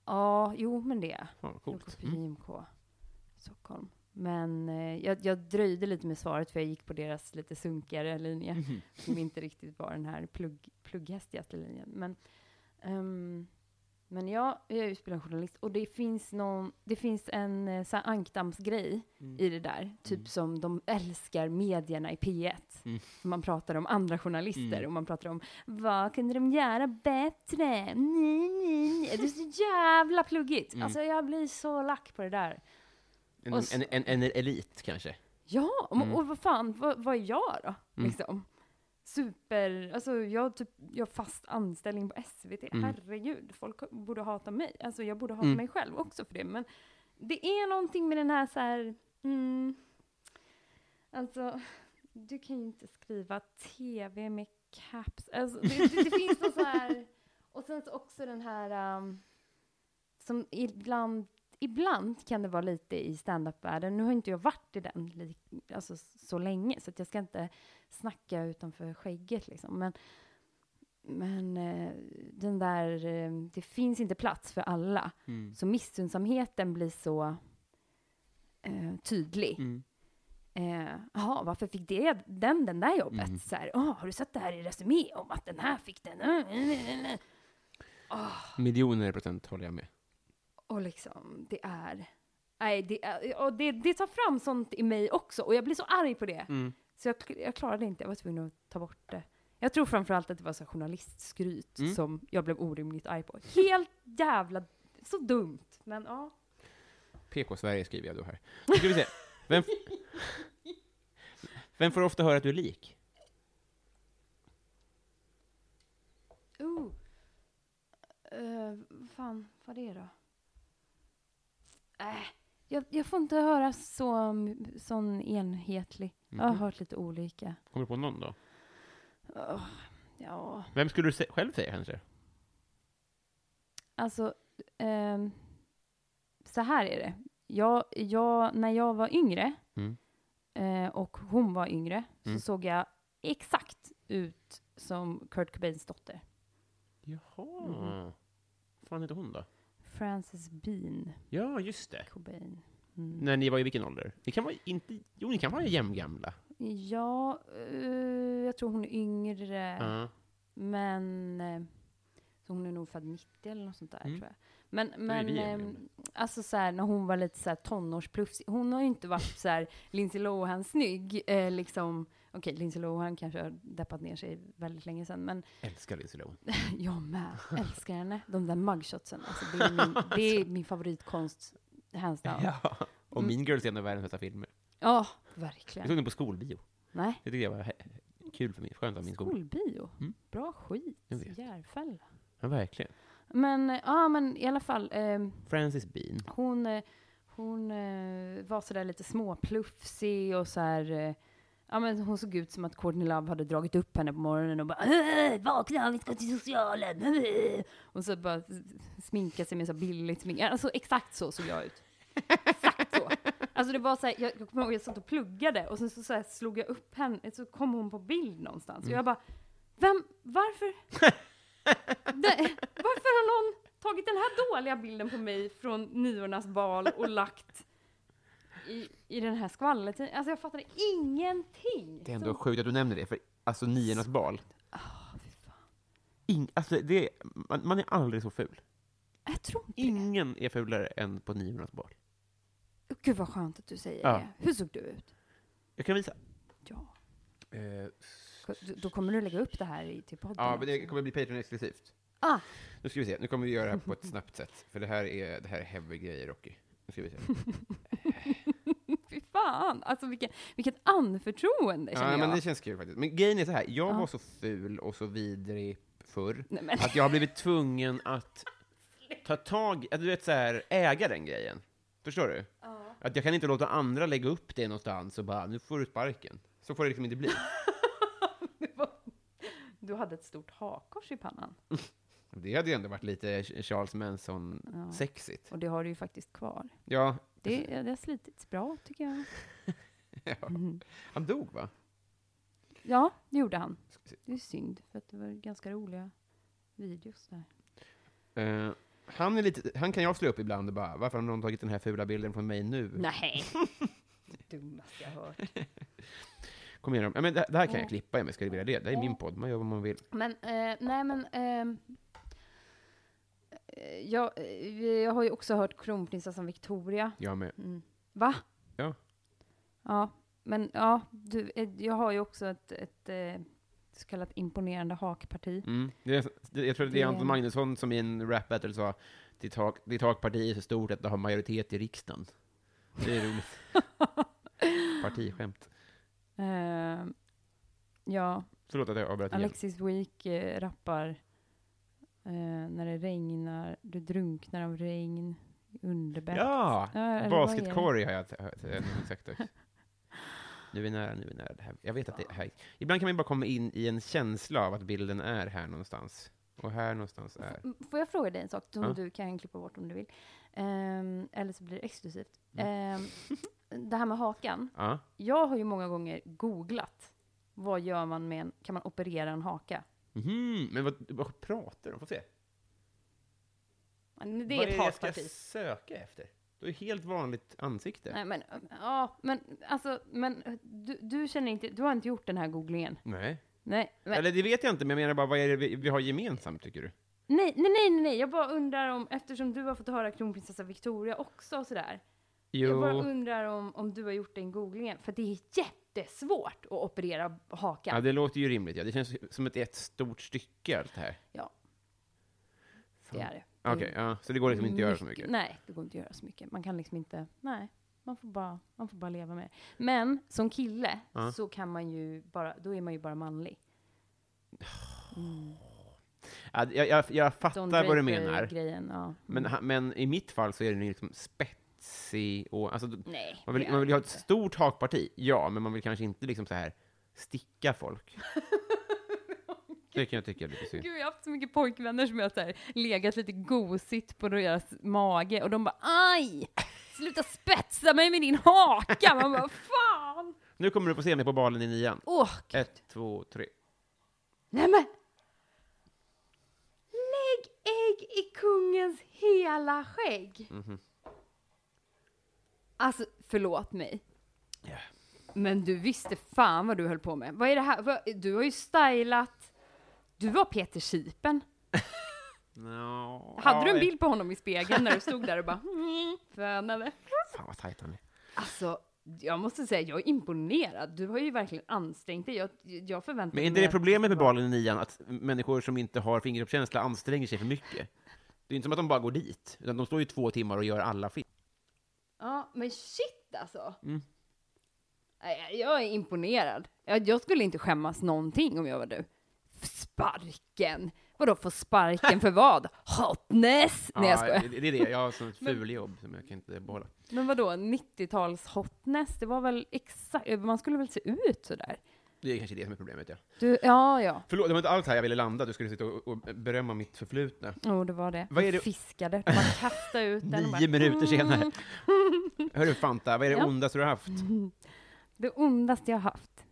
Speaker 2: Ja, jo men det. är
Speaker 1: Fan, vad
Speaker 2: jag. Jag går
Speaker 1: coolt.
Speaker 2: på
Speaker 1: Mm.
Speaker 2: JMK Stockholm. Men eh, jag, jag dröjde lite med svaret för jag gick på deras lite sunkigare linje
Speaker 1: Mhm.
Speaker 2: som inte riktigt var den här plugg, plugghästigaste linjen. Men, ehm, men ja, jag är utbildad journalist och det finns, någon, det finns en eh, så här ankdammsgrej
Speaker 1: Mm.
Speaker 2: i det där. Typ som de älskar medierna i P1.
Speaker 1: Mm.
Speaker 2: Man pratar om andra journalister
Speaker 1: Mm.
Speaker 2: och man pratar om vad kunde de göra bättre? Nej, nej, nej. Det är så jävla pluggigt.
Speaker 1: Mm.
Speaker 2: Alltså jag blir så lack på det där.
Speaker 1: En,
Speaker 2: Och så-
Speaker 1: Mm. en, en, en elit, kanske?
Speaker 2: Ja, och,
Speaker 1: Mm.
Speaker 2: och vad fan, vad, vad är jag då?
Speaker 1: Mm.
Speaker 2: Liksom. Super, alltså jag har typ, jag har fast anställning på SVT.
Speaker 1: Mm.
Speaker 2: Herregud, folk borde hata mig. Alltså jag borde hata
Speaker 1: Mm.
Speaker 2: mig själv också för det. Men det är någonting med den här så här, mm, alltså du kan ju inte skriva TV med caps. Alltså, det, det, det finns någon så här, och sen så också den här um, som ibland ibland kan det vara lite i standup-världen. Nu har inte jag varit i den li- alltså, så länge, så att jag ska inte snacka utanför skägget liksom. Men, men eh, den där, eh, det finns inte plats för alla.
Speaker 1: Mm.
Speaker 2: Så missunnsamheten blir så eh, tydlig.
Speaker 1: Mm.
Speaker 2: Eh, Jaha, varför fick det, den den där jobbet?
Speaker 1: Mm.
Speaker 2: Så här, "Åh, har du sett det här i Resumé om att den här fick den? Mm, mm, mm, mm." Ah.
Speaker 1: Miljoner procent håller jag med.
Speaker 2: Och liksom, det är... Nej, det, är- och det, det tar fram sånt i mig också. Och jag blir så arg på det.
Speaker 1: Mm.
Speaker 2: Så jag, jag klarade inte, jag var tvungen att ta bort det. Jag tror framförallt att det var så här journalistskryt
Speaker 1: Mm.
Speaker 2: som jag blev orimligt arg på. Helt jävla... Så dumt. Men ja.
Speaker 1: PK-Sverige skriver jag då här. Nu ska vi se. Vem, vem får ofta höra att du är lik?
Speaker 2: Oh. uh. Eh, fan, vad det är då? Äh, jag, jag får inte höra så, sån enhetlig. Jag har
Speaker 1: Mhm.
Speaker 2: hört lite olika.
Speaker 1: Kommer du på någon då?
Speaker 2: Åh, ja,
Speaker 1: Vem skulle du se- själv säga kanske?
Speaker 2: alltså. ehm, så här är det. Jag, jag, när jag var yngre
Speaker 1: Mm.
Speaker 2: eh, och hon var yngre
Speaker 1: Mm.
Speaker 2: så såg jag exakt ut som Kurt Cobains dotter.
Speaker 1: Jaha.
Speaker 2: Mhm.
Speaker 1: Mm. fan heter hon då?
Speaker 2: Frances Bean
Speaker 1: Ja, just det.
Speaker 2: Cobain. Mm.
Speaker 1: När ni var i vilken ålder? Ni kan vara inte... Jo, ni kan vara jämngamla.
Speaker 2: Ja, eh, jag tror hon är yngre.
Speaker 1: Ja.
Speaker 2: Men eh, så hon är nog född 90 eller något sånt där
Speaker 1: Mm.
Speaker 2: tror jag. Men, men
Speaker 1: vi
Speaker 2: eh,
Speaker 1: egentligen.
Speaker 2: alltså så här, när hon var lite så här tonårsplufsig. Hon har ju inte varit så här Lindsay Lohan snygg. Eh, liksom, okej, Lindsay Lohan kanske har deppat ner sig väldigt länge sedan. Men
Speaker 1: Älskar Lindsay Lohan.
Speaker 2: jag med, älskar henne. De där mugshotsen, alltså, det, är min, det är min favoritkonst. Hands down. Ja,
Speaker 1: Ja. Och Mean Girls är en av världens bästa filmer. Jag
Speaker 2: verkligen.
Speaker 1: såg den på skolbio.
Speaker 2: Nej.
Speaker 1: Det tyckte jag var he- kul för mig. Skönt att min skola.
Speaker 2: Skolbio.
Speaker 1: Mm.
Speaker 2: Bra skit.
Speaker 1: Jag vet.
Speaker 2: Järfälla.
Speaker 1: Ja, verkligen.
Speaker 2: Men, eh, ja men i alla fall. ehm,
Speaker 1: Frances Bean.
Speaker 2: Hon, eh, hon eh, var sådär lite småplufsig och så här. Eh, ja, men hon såg ut som att Courtney Love hade dragit upp henne på morgonen och bara "Äh, “Vakna, vi ska till socialen!” äh." Och så bara s- sminka sig med så här billigt smink. Alltså exakt så såg jag ut. Exakt så. Alltså det var så här, jag, jag kommer ihåg jag satt och pluggade och sen så, så här slog jag upp henne, så kom hon på bild någonstans.
Speaker 1: Mm.
Speaker 2: Och jag bara, vem, varför? Det- varför har någon tagit den här dåliga bilden på mig från niornas bal och lagt i, i den här skvallertidningen? Alltså jag fattade ingenting.
Speaker 1: Det är ändå sjukt att du nämner det, för alltså niornas bal.
Speaker 2: Ah,
Speaker 1: Ing, alltså det, man, man är aldrig så ful.
Speaker 2: jag tror inte det.
Speaker 1: Ingen är fulare än på niornas bal.
Speaker 2: Gud vad skönt att du säger
Speaker 1: Ja.
Speaker 2: det. Hur såg du ut?
Speaker 1: Jag kan visa.
Speaker 2: Ja.
Speaker 1: Eh,
Speaker 2: Då- Då kommer du lägga upp det här i, till podden.
Speaker 1: ja, men det
Speaker 2: också.
Speaker 1: kommer bli Patreon-exklusivt.
Speaker 2: Ah.
Speaker 1: Nu ska vi se, nu kommer vi göra det här på ett snabbt sätt. För det här är, det här är heavy grejer, Rocky. Nu ska vi se.
Speaker 2: Fy fan, alltså vilket, vilket anförtroende känner
Speaker 1: Ja, men
Speaker 2: jag.
Speaker 1: det känns kul faktiskt. Men grejen är så här, jag
Speaker 2: Ja.
Speaker 1: var så ful och så vidrig förr,
Speaker 2: Nej, men,
Speaker 1: att jag har blivit tvungen att ta tag, att du vet så här, äga den grejen. Förstår du? Att jag kan inte låta andra lägga upp det någonstans och bara, nu får du sparken. Så får det liksom inte bli.
Speaker 2: du hade ett stort hakkors i pannan.
Speaker 1: Det hade ju ändå varit lite Charles Manson-sexigt.
Speaker 2: Och det har du ju faktiskt kvar.
Speaker 1: Ja.
Speaker 2: Det, det har slitits bra tycker jag.
Speaker 1: ja.
Speaker 2: Mhm.
Speaker 1: Han dog, va?
Speaker 2: Ja, det gjorde han.
Speaker 1: Ska vi se.
Speaker 2: Det är synd, för att det var ganska roliga videos där.
Speaker 1: Eh, han, är lite, han kan jag slå upp ibland och bara, varför har någon tagit den här fula bilden från mig nu?
Speaker 2: Nej. Dummaste jag hört.
Speaker 1: Kom igen, ja, men det, det här kan jag
Speaker 2: Ja.
Speaker 1: klippa om jag skulle vilja det. Det här är min podd, man gör vad man vill.
Speaker 2: Men, eh, nej men. ehm, Eh, jag, eh, jag har ju också hört kronprinsessan Victoria.
Speaker 1: Jag med.
Speaker 2: Mm. Va?
Speaker 1: Ja.
Speaker 2: Ja, men ja, du, eh, jag har ju också ett, ett eh, så kallat imponerande hakparti.
Speaker 1: Mm. Det, är- det, jag tror att det är
Speaker 2: Det-
Speaker 1: Anton Magnusson som i en rap battle sa ditt, hak, ditt hakparti är så stort att det har majoritet i riksdagen. Det är roligt. Partiskämt.
Speaker 2: Eh, ja,
Speaker 1: Förlåt att jag avbröt igen.
Speaker 2: Alexis Week eh, rappar eh, när det regnar, du drunknar av regn, underbett.
Speaker 1: Ja!
Speaker 2: eller vad är det?
Speaker 1: Basketkorg har jag t- hört- eh, sagt också. Nu är vi nära, nu är vi nära. Det här. Jag vet att det är här. Ibland kan man bara komma in i en känsla av att bilden är här någonstans. Och här någonstans är.
Speaker 2: M- Mm, Får jag fråga dig en sak som
Speaker 1: Ja.
Speaker 2: du kan klippa bort om du vill? Ehm, eller så blir det exklusivt. Ehm, det här med hakan.
Speaker 1: Ja.
Speaker 2: Jag har ju många gånger googlat. Vad gör man med en, kan man operera en haka?
Speaker 1: Mhm, Men vad, vad pratar de? Får se.
Speaker 2: Men Det
Speaker 1: Vad
Speaker 2: är ett
Speaker 1: jag ska
Speaker 2: hakparti.
Speaker 1: söka efter? Du är helt vanligt ansikte.
Speaker 2: Nej men, ja, men alltså, men du, du känner inte, du har inte gjort den här googlingen?
Speaker 1: Nej.
Speaker 2: Nej, men,
Speaker 1: Eller det vet jag inte, men jag menar bara, vad är det vi, vi har gemensamt, tycker du?
Speaker 2: nej, nej, nej, nej, nej, jag bara undrar om, eftersom du har fått höra kronprinsessa Victoria också och sådär. Jag bara undrar om, om du har gjort den googlingen, för det är jättesvårt att operera hakan.
Speaker 1: Ja, det låter ju rimligt. Ja. Det känns som ett, ett stort stycke, allt det här.
Speaker 2: Ja.
Speaker 1: Fan.
Speaker 2: Det är det.
Speaker 1: Okej, ja, så det går liksom inte att göra så mycket.
Speaker 2: Nej, det går inte att göra så mycket. Man kan liksom inte, nej, man får bara, man får bara leva med det. Men som kille
Speaker 1: Ja.
Speaker 2: så kan man ju bara, då är man ju bara manlig.
Speaker 1: Ja, jag, jag, jag
Speaker 2: Don
Speaker 1: fattar vad du
Speaker 2: Draper
Speaker 1: menar.
Speaker 2: Grejen, ja.
Speaker 1: Men, ha- men i mitt fall så är den ju liksom spetsig och... Alltså, d-
Speaker 2: Nej,
Speaker 1: man, vill,
Speaker 2: det
Speaker 1: man
Speaker 2: är
Speaker 1: vill ju ha
Speaker 2: det
Speaker 1: ett
Speaker 2: inte.
Speaker 1: stort hakparti, ja, men man vill kanske inte liksom så här sticka folk. det kan jag tycka är lite synd.
Speaker 2: Gud, jag har haft så mycket pojkvänner som jag så här, legat lite gosigt på deras mage och de bara aj! Sluta spetsa mig med din haka! Man bara fan!
Speaker 1: Nu kommer du få se mig på balen i nian.
Speaker 2: Åh, gud.
Speaker 1: Ett, två, tre.
Speaker 2: nej men! Lägg ägg i kungens hela skägg!
Speaker 1: Mhm.
Speaker 2: Alltså, förlåt mig.
Speaker 1: Ja.
Speaker 2: Men du visste fan vad du höll på med. Vad är det här? Vad- Du har ju stylat. Du var Peter Sipen.
Speaker 1: No.
Speaker 2: Hade du en bild på honom i spegeln när du stod där och bara mm, fönade?
Speaker 1: Fan vad tajt han är.
Speaker 2: Alltså, jag måste säga, jag är imponerad. Du har ju verkligen ansträngt dig. Jag, jag förväntar
Speaker 1: Men
Speaker 2: mig...
Speaker 1: är inte det
Speaker 2: att-
Speaker 1: problemet med balen i nian, att människor som inte har fingeruppkänsla anstränger sig för mycket? Det är inte som att de bara går dit, utan de står ju två timmar och gör alla fel.
Speaker 2: Ja, men shit alltså.
Speaker 1: Mm.
Speaker 2: Nej, Jag är imponerad. Jag, jag skulle inte skämmas någonting om jag var du. F- Sparken! Vadå få sparken för vad? Hotness! Nej, jag skojar.
Speaker 1: det, det är det. Jag har sånt fuljobb som jag kan inte behålla.
Speaker 2: Men vadå, 90-tals hotness? Det var väl exakt... Man skulle väl se ut sådär?
Speaker 1: Det är kanske det som är problemet, ja.
Speaker 2: Du, ja, ja.
Speaker 1: Förlåt, det var inte alls här jag ville landa. Du skulle sitta och, och berömma mitt förflutna.
Speaker 2: Jo, det var det.
Speaker 1: Vad är det-
Speaker 2: Fiskade. Man kastade ut den. och bara,
Speaker 1: Nio minuter senare. Hörru Fanta, vad är det
Speaker 2: Ja.
Speaker 1: ondaste du har haft?
Speaker 2: Det ondaste jag haft.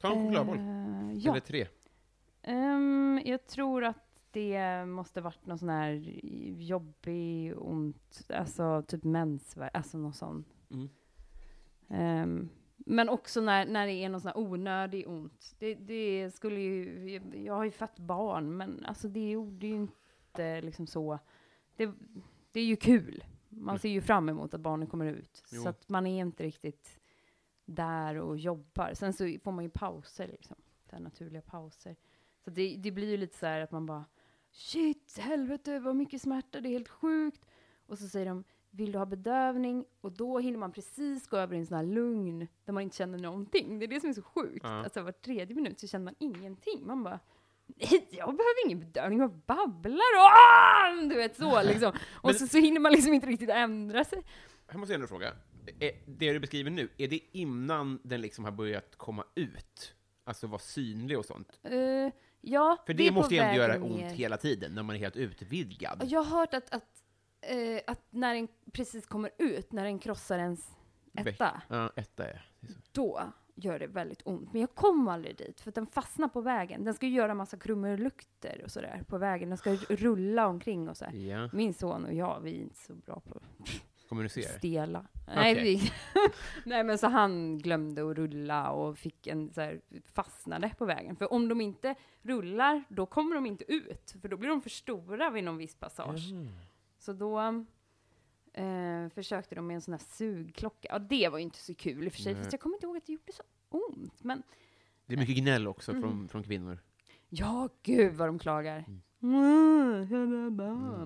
Speaker 1: Ta en chokladboll.
Speaker 2: Eh, ja.
Speaker 1: Eller tre.
Speaker 2: Ehm, jag tror att det måste varit någon sån här jobbig, ont, alltså typ mensvärk, alltså någon sån.
Speaker 1: Mm.
Speaker 2: Ehm, men också när, när det är någon sån här onödig ont. Det, det skulle ju, jag har ju fött barn, men alltså det gjorde ju inte liksom så. Det, det är ju kul. Man ser ju fram emot att barnen kommer ut.
Speaker 1: Mm. Jo.
Speaker 2: Så att man är inte riktigt där och jobbar. Sen så får man ju pauser liksom. Så här naturliga pauser. Så det, det blir ju lite så här att man bara shit, helvete vad mycket smärta, det är helt sjukt. Och så säger de vill du ha bedövning? Och då hinner man precis gå över i en sån här lugn där man inte känner någonting. Det är det som är så sjukt.
Speaker 1: Ja.
Speaker 2: Alltså var tredje minut så känner man ingenting. Man bara Nej, jag behöver ingen bedövning, jag babblar och ah! du vet så liksom. Och
Speaker 1: Men-
Speaker 2: så, så hinner man liksom inte riktigt ändra sig.
Speaker 1: Här måste jag ändå fråga. Är- Det du beskriver nu, är det innan den liksom har börjat komma ut? Alltså vara synlig och sånt?
Speaker 2: Eh, ja,
Speaker 1: För
Speaker 2: vi
Speaker 1: det,
Speaker 2: är på
Speaker 1: måste ju ändå
Speaker 2: väg
Speaker 1: göra
Speaker 2: ner.
Speaker 1: ont hela tiden, när man är helt utvidgad.
Speaker 2: Och Jag har hört att, att, eh, att när den precis kommer ut, när den krossar ens etta,
Speaker 1: Ja, etta, ja. Det är så.
Speaker 2: då gör det väldigt ont. Men jag kom aldrig dit, för att den fastnar på vägen. Den ska ju göra massa krumelukter och sådär på vägen. Den ska ju rulla omkring och sådär.
Speaker 1: Ja,
Speaker 2: Min son och jag, vi är inte så bra på
Speaker 1: kommunicera.
Speaker 2: Stela. Nej,
Speaker 1: Okej.
Speaker 2: vi, nej, men så han glömde att rulla och fick en så här, fastnade på vägen. För om de inte rullar, då kommer de inte ut. För då blir de för stora vid någon viss passage. Så då eh, försökte de med en sån här sugklocka. Ja, det var ju inte så kul i och för sig.
Speaker 1: Nej.
Speaker 2: Fast jag kommer inte ihåg att det gjorde så ont. Men
Speaker 1: Det är mycket gnäll också
Speaker 2: Mm.
Speaker 1: från, från kvinnor.
Speaker 2: ja, gud vad de klagar. Mm.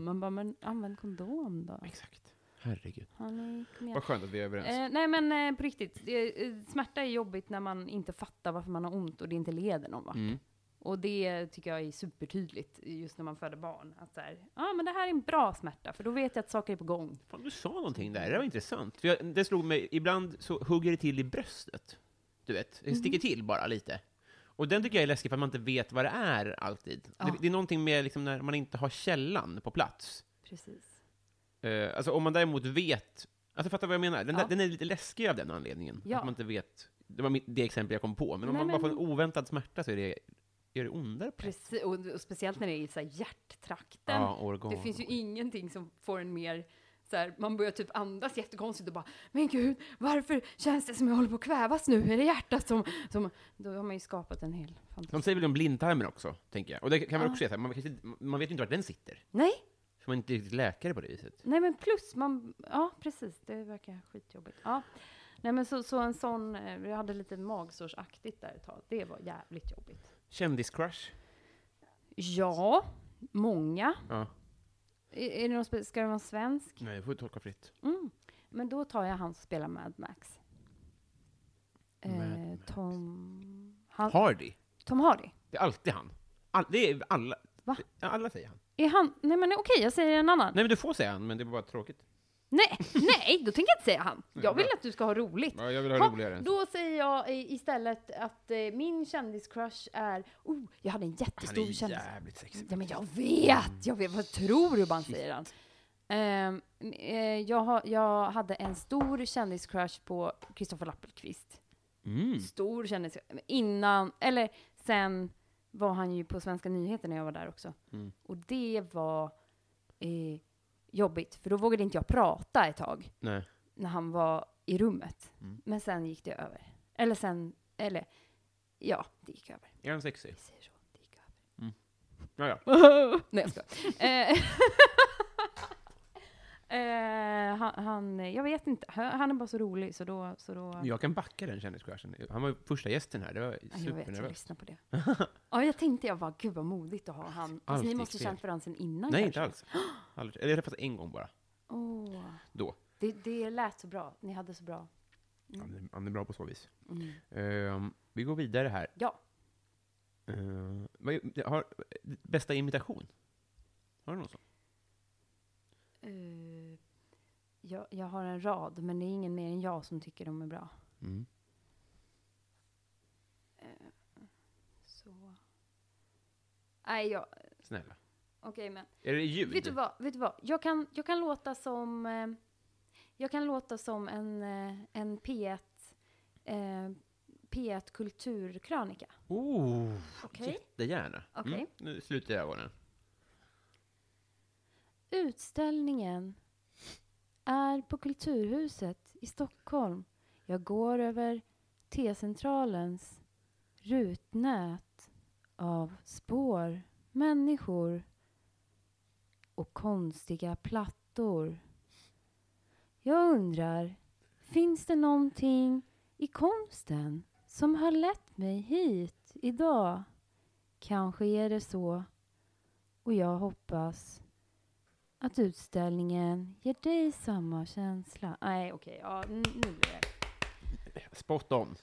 Speaker 2: Man bara, men använd kondom då.
Speaker 1: Exakt. Herregud.
Speaker 2: Hallå, kom igen.
Speaker 1: Vad skönt att vi är överens.
Speaker 2: Eh, nej men eh, på riktigt, det, eh, smärta är jobbigt när man inte fattar varför man har ont och det inte leder någon vart.
Speaker 1: Mm.
Speaker 2: Och det tycker jag är supertydligt just när man föder barn. Att så här, ja men det här är en bra smärta för då vet jag att saker är på gång.
Speaker 1: Fan, du sa någonting där, det var intressant. För jag, det slog mig, ibland så hugger det till i bröstet. Du vet,
Speaker 2: Mhm.
Speaker 1: det sticker till bara lite. Och den tycker jag är läskig för att man inte vet vad det är alltid. Det, det är någonting med liksom när man inte har källan på plats.
Speaker 2: Precis.
Speaker 1: Eh, alltså om man däremot vet, alltså fattar vad jag menar? Den,
Speaker 2: Ja.
Speaker 1: där, den är lite läskig av den anledningen.
Speaker 2: Ja.
Speaker 1: Att man inte vet, det var mitt, det exempel jag kom på, men om
Speaker 2: Nej,
Speaker 1: man bara får
Speaker 2: men-
Speaker 1: en oväntad smärta så är det, är det ondare på ett sätt.
Speaker 2: Precis. Och, och speciellt när det är i så här hjärttrakten.
Speaker 1: Ja, organ.
Speaker 2: Det finns ju ingenting som får en mer så här, man börjar typ andas jättekonstigt och bara Men gud, varför känns det som jag håller på att kvävas nu? Är det hjärtat som... som... Då har man ju skapat en hel
Speaker 1: De
Speaker 2: fantasi.
Speaker 1: säger väl om blindtarmen också, tänker jag. Och det kan man också säga, så här, man, kanske- man vet ju inte vart den sitter.
Speaker 2: Nej,
Speaker 1: För man är inte riktigt läkare på det viset.
Speaker 2: Nej men plus, man, ja precis, det verkar skitjobbigt. Ja. Nej men så, så en sån, eh, jag hade lite magsårsaktigt där ett tag, det var jävligt jobbigt.
Speaker 1: Kändiscrush?
Speaker 2: Ja, många.
Speaker 1: Ja.
Speaker 2: Är, är det någon, spe- ska det vara svensk?
Speaker 1: Nej, det får du tolka fritt.
Speaker 2: Mm. Men då tar jag han som spelar Mad Max.
Speaker 1: Mad
Speaker 2: Eh, Tom, han,
Speaker 1: Hardy?
Speaker 2: Tom Hardy.
Speaker 1: Det är alltid han. All, det är alla.
Speaker 2: Va?
Speaker 1: Ja, Alla säger han.
Speaker 2: Är han... Nej men okej, jag säger en annan.
Speaker 1: Nej, men du får säga han, men det var bara tråkigt.
Speaker 2: Nej, nej, då tänker jag inte säga han. Jag vill att du ska ha roligt.
Speaker 1: Ja, jag vill ha
Speaker 2: Ha,
Speaker 1: roligare än så.
Speaker 2: Då säger jag eh, istället att eh, min kändiscrush är... Oh, jag hade en
Speaker 1: Han är
Speaker 2: jättestor
Speaker 1: ju
Speaker 2: kändis...
Speaker 1: jävligt sexig.
Speaker 2: Ja, men jag vet! Jag vet, vad tror du man säger han? Ehm, eh, jag, har, jag hade en stor kändiscrush på Kristoffer Lappelqvist.
Speaker 1: Mm.
Speaker 2: Stor kändis... Innan, eller sen var han ju på Svenska nyheter när jag var där också.
Speaker 1: Mm.
Speaker 2: Och det var eh, jobbigt, för då vågade inte jag prata ett tag
Speaker 1: Nej.
Speaker 2: när han var i rummet.
Speaker 1: Mm.
Speaker 2: Men sen gick det över. Eller sen, eller ja, det gick över.
Speaker 1: Är han sexig?
Speaker 2: Vi säger så, det gick över.
Speaker 1: Ja, ja.
Speaker 2: Nej, jag skojar. Eh, eh, han, han, jag vet inte, han han är bara så rolig så då, så då...
Speaker 1: Men Jag kan backa den kändiscrushen. Han var ju första gästen här. Det var
Speaker 2: Ja, Jag vet, jag
Speaker 1: supernervöst.
Speaker 2: lyssnar på det. ja, jag tänkte jag bara, gud vad modigt att ha han. Fast
Speaker 1: Allt
Speaker 2: ni
Speaker 1: gick
Speaker 2: måste
Speaker 1: fel.
Speaker 2: känt varandra sen innan
Speaker 1: Nej, inte alls.
Speaker 2: kanske.
Speaker 1: Aldrig. Eller jag träffades en gång bara.
Speaker 2: Åh,
Speaker 1: Då.
Speaker 2: det, det lät så bra, ni hade så bra. Mm.
Speaker 1: Han är, han är bra på så vis. Ehm, vi går vidare här.
Speaker 2: Ja,
Speaker 1: Ehm, vad är- det har, bästa imitation? Har du någon sån?
Speaker 2: eh, jag, jag har en rad, men det är ingen mer än jag som tycker de är bra.
Speaker 1: Mm.
Speaker 2: Så... Nej, jag... Okej,
Speaker 1: Snälla.
Speaker 2: men...
Speaker 1: Är det ljud?
Speaker 2: Vet du vad? Vet du vad? Jag, kan, jag kan låta som... Eh, jag kan låta som en, eh, en P1... Eh, P1 Kulturkrönika.
Speaker 1: Oh,
Speaker 2: Okej.
Speaker 1: jättegärna. Mm.
Speaker 2: Okej.
Speaker 1: nu slutar jag ögonen.
Speaker 2: Utställningen är på Kulturhuset i Stockholm. Jag går över T-centralens rutnät av spår, människor och konstiga plattor. Jag undrar, finns det någonting i konsten som har lett mig hit idag? Kanske är det så, och jag hoppas att utställningen ger dig samma känsla. Nej, okej. ja, n- nu blir det.
Speaker 1: Spot on.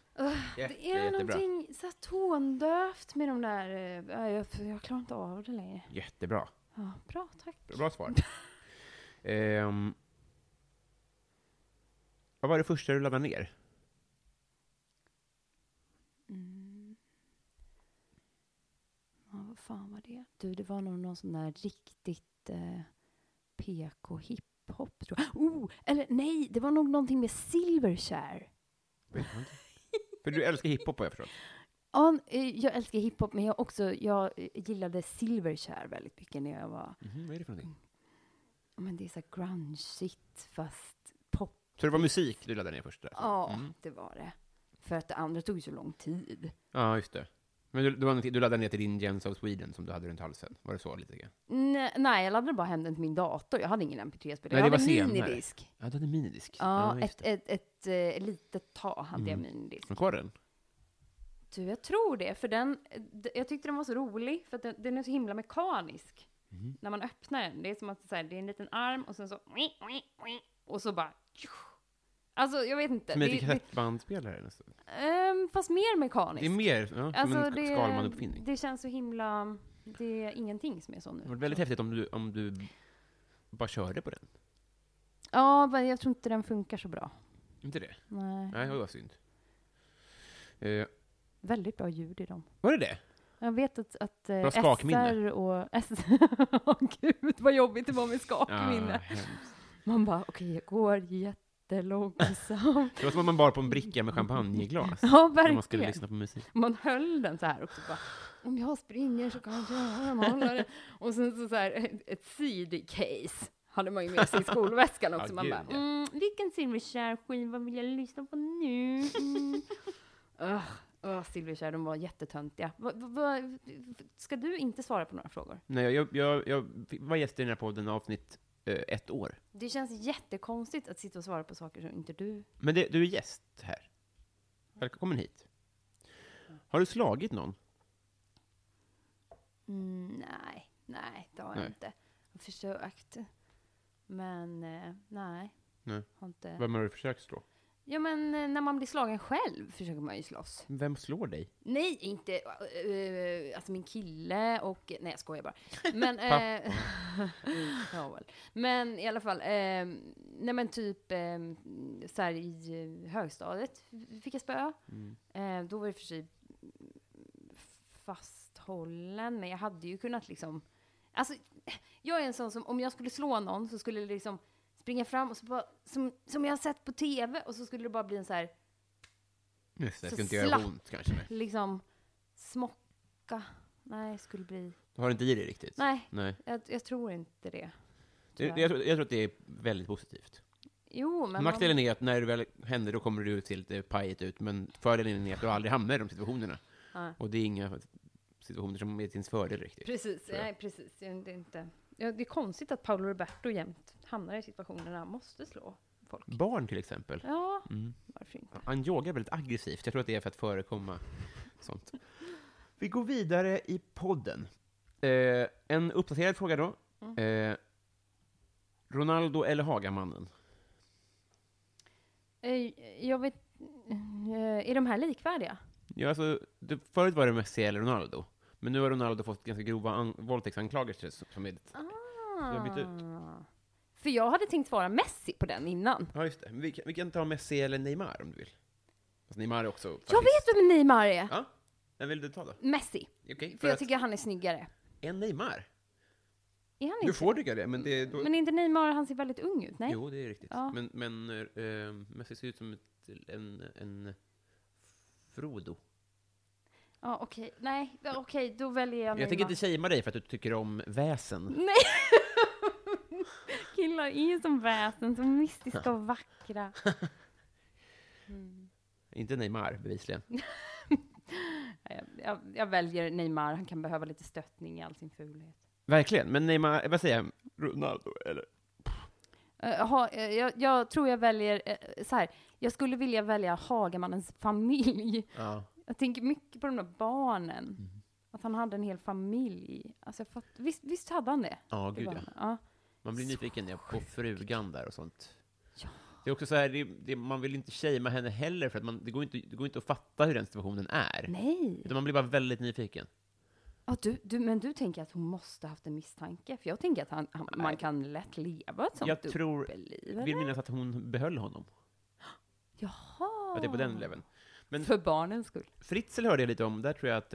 Speaker 1: Jätte,
Speaker 2: Det är någonting så här tondövt med de där... eh, ja, Jag, jag klarar inte av det längre.
Speaker 1: Jättebra.
Speaker 2: Ja, bra, tack.
Speaker 1: Bra svar. Ehm, vad var det första du laddade ner?
Speaker 2: Ja, vad fan var det? Du, det var nog någon sån där riktigt eh, PK hiphop, tror jag. Oh, eller nej, det var nog någonting med Silverchair.
Speaker 1: Vet jag inte. För du älskar hiphop har jag förstått.
Speaker 2: Ja, n- eh, jag älskar hiphop, men jag, också, jag eh, gillade Silverchair väldigt mycket när jag var...
Speaker 1: Mhm, vad är det för någonting?
Speaker 2: ja, Men det är så här grunge-shit, fast pop
Speaker 1: Så det var musik du laddade ner först? där?
Speaker 2: Ja,
Speaker 1: Mm.
Speaker 2: det var det. För att det andra tog ju så lång tid.
Speaker 1: Ja, just det. Men du, det var någonting- du laddade ner till din Gems of Sweden som du hade runt halsen? Var det så lite grann?
Speaker 2: Nej, nej, jag laddade bara hem den till min dator. Jag hade ingen MP3-spelare.
Speaker 1: Nej,
Speaker 2: Jag
Speaker 1: det
Speaker 2: hade
Speaker 1: var
Speaker 2: en
Speaker 1: senare.
Speaker 2: minidisk.
Speaker 1: Ja, du hade minidisk.
Speaker 2: Ja,
Speaker 1: just Mm.
Speaker 2: ett, ett, ett, eh, litet tag hade jag
Speaker 1: det.
Speaker 2: minidisk.
Speaker 1: Har du kvar den?
Speaker 2: Du, jag tror det. För den, d- jag tyckte den var så rolig, för att den, den är så himla mekanisk.
Speaker 1: Mm.
Speaker 2: När man öppnar den. Det är som att så här, det är en liten arm och sen så... Och så bara... Alltså, jag vet inte.
Speaker 1: Som en
Speaker 2: Det, det,
Speaker 1: kassettbandspelare nästan.
Speaker 2: ehm, fast mer
Speaker 1: Det är
Speaker 2: mekaniskt.
Speaker 1: mer ja,
Speaker 2: alltså,
Speaker 1: som en Skalman-uppfinning.
Speaker 2: det, det känns så himla... Det är ingenting som är så nu.
Speaker 1: Det var väldigt häftigt om du, om du bara körde på den.
Speaker 2: Ja, men jag tror inte den funkar så bra.
Speaker 1: Inte det?
Speaker 2: Nej.
Speaker 1: Nej, det var synd. Eh,
Speaker 2: Väldigt bra ljud i dem.
Speaker 1: var det det?
Speaker 2: Jag vet att, att eh,
Speaker 1: Bra skakminne.
Speaker 2: SR och... SR, Åh gud vad jobbigt det var med skakminne.
Speaker 1: hemskt.
Speaker 2: Man bara, okej, jag går jättelångsamt.
Speaker 1: det var som om man bar på en bricka med champagneglas.
Speaker 2: ja,
Speaker 1: När man skulle
Speaker 2: verkligen.
Speaker 1: lyssna på musik.
Speaker 2: Man höll den så här också. Bara, om jag springer så kan jag man håller den. Och sen så, så här, ett, ett CD-case hade man ju med sig i skolväskan också.
Speaker 1: Ja,
Speaker 2: man
Speaker 1: gud,
Speaker 2: bara,
Speaker 1: ja.
Speaker 2: mm, vilken Silverchair-skiva vill jag lyssna på nu? Mm. Ugh, ugh, Silverchair, de var jättetöntiga. Va, va, va, ska du inte svara på några frågor?
Speaker 1: Nej, jag, jag, jag fick- var gäst i den här podden avsnitt eh, ett år.
Speaker 2: Det känns jättekonstigt att sitta och svara på saker som inte du...
Speaker 1: Men det, du är gäst här. Välkommen hit. Har du slagit någon?
Speaker 2: Mm, nej, nej, det har jag
Speaker 1: Nej.
Speaker 2: inte. Jag har försökt. Men eh, nej.
Speaker 1: Nej.
Speaker 2: Har inte...
Speaker 1: Vem har du försökt slå?
Speaker 2: Ja, men eh, när man blir slagen själv försöker man ju slåss.
Speaker 1: Vem slår dig?
Speaker 2: Nej, inte eh, eh, alltså min kille och... Nej, jag skojar bara. Men... eh, ja, väl. Men i alla fall. Eh, nej, men typ eh, så här i eh, högstadiet fick jag spö. Eh, då var det för sig fasthållen, men jag hade ju kunnat liksom... Alltså, jag är en sån som om jag skulle slå någon så skulle det liksom springa fram och så bara, som, som jag har sett på tv och så skulle det bara bli en så här
Speaker 1: Just det,
Speaker 2: Så
Speaker 1: ska inte göra
Speaker 2: slapp.
Speaker 1: ont kanske. Nej.
Speaker 2: liksom smocka. Nej, skulle bli...
Speaker 1: Du har inte i dig riktigt?
Speaker 2: Nej,
Speaker 1: Nej.
Speaker 2: jag, jag tror inte det.
Speaker 1: Det, jag, tror, jag tror att det är väldigt positivt.
Speaker 2: Jo, men...
Speaker 1: Nackdelen är att när det väl händer, då kommer du se lite pajigt ut, men fördelen är att du aldrig hamnar i de situationerna.
Speaker 2: Ja.
Speaker 1: Och det är inga situationer som är till ens fördel riktigt.
Speaker 2: Precis,
Speaker 1: tror jag.
Speaker 2: nej precis. Det är inte... Ja, det är konstigt att Paolo Roberto jämt hamnar i situationer när han måste slå folk.
Speaker 1: Barn till exempel.
Speaker 2: Ja,
Speaker 1: Mm.
Speaker 2: varför inte?
Speaker 1: Han yogar väldigt aggressivt. Jag tror att det är för att förekomma sånt. Vi går vidare i podden. Eh, en uppdaterad fråga då.
Speaker 2: Mm.
Speaker 1: Eh, Ronaldo eller Hagamannen?
Speaker 2: Eh, Jag vet... eh, Är de här likvärdiga?
Speaker 1: Ja, alltså, det, förut var det Messi eller Ronaldo. Men nu har Ronaldo fått ganska grova an- våldtäktsanklagelser. Som, som är, har bytt ut.
Speaker 2: Ah. För jag hade tänkt svara Messi på den innan.
Speaker 1: ja, just det. Men Vi, kan- vi kan ta Messi eller Neymar om du vill. Fast Neymar är också...
Speaker 2: Jag vet vem Neymar är!
Speaker 1: Ja, vem vill du ta då?
Speaker 2: Messi.
Speaker 1: Okej, för,
Speaker 2: För jag
Speaker 1: att,
Speaker 2: tycker han är snyggare.
Speaker 1: är Neymar?
Speaker 2: Är han
Speaker 1: Du
Speaker 2: inte?
Speaker 1: får tycka det, men det är... Då,
Speaker 2: Men är inte Neymar, han ser väldigt ung ut? Nej?
Speaker 1: Jo, det är riktigt.
Speaker 2: Ja.
Speaker 1: Men, men eh, Messi ser ut som ett, en, en Frodo.
Speaker 2: Ja, okej. Nej, ja, okej, då väljer jag
Speaker 1: Jag
Speaker 2: Neymar.
Speaker 1: tänker inte shamea dig för att du tycker om väsen.
Speaker 2: Nej! Killar är ju som väsen, så mystiska och vackra.
Speaker 1: Inte Neymar, bevisligen.
Speaker 2: Jag, jag, jag väljer Neymar, han kan behöva lite stöttning i all sin fulhet.
Speaker 1: Verkligen, men Neymar, vad säger jag? Ronaldo, eller?
Speaker 2: Eh, ha, eh, jag, jag tror jag väljer, eh, så här, jag skulle vilja välja Hagamannens familj.
Speaker 1: Ja.
Speaker 2: Jag tänker mycket på de där barnen.
Speaker 1: Mm.
Speaker 2: Att han hade en hel familj. Alltså jag fatt, visst, visst hade han det?
Speaker 1: Ja,
Speaker 2: Det
Speaker 1: gud
Speaker 2: var
Speaker 1: ja.
Speaker 2: han. ja.
Speaker 1: Man blir nyfiken ja, på frugan där och sånt. Det är också så här, det, det, man vill inte shamea henne heller, för att man, det, går inte, det går inte att fatta hur den situationen är.
Speaker 2: Nej!
Speaker 1: Utan man blir bara väldigt nyfiken.
Speaker 2: Ja, du, du, men du tänker att hon måste haft en misstanke? För jag tänker att han, han, man kan lätt leva ett sånt
Speaker 1: Jag tror-
Speaker 2: dubbelliv.
Speaker 1: Vill minnas att hon behöll honom.
Speaker 2: Jaha!
Speaker 1: Att det är på
Speaker 2: Ah.
Speaker 1: den leveln. Men
Speaker 2: För barnens skull.
Speaker 1: Fritzl hörde jag lite om, där tror jag att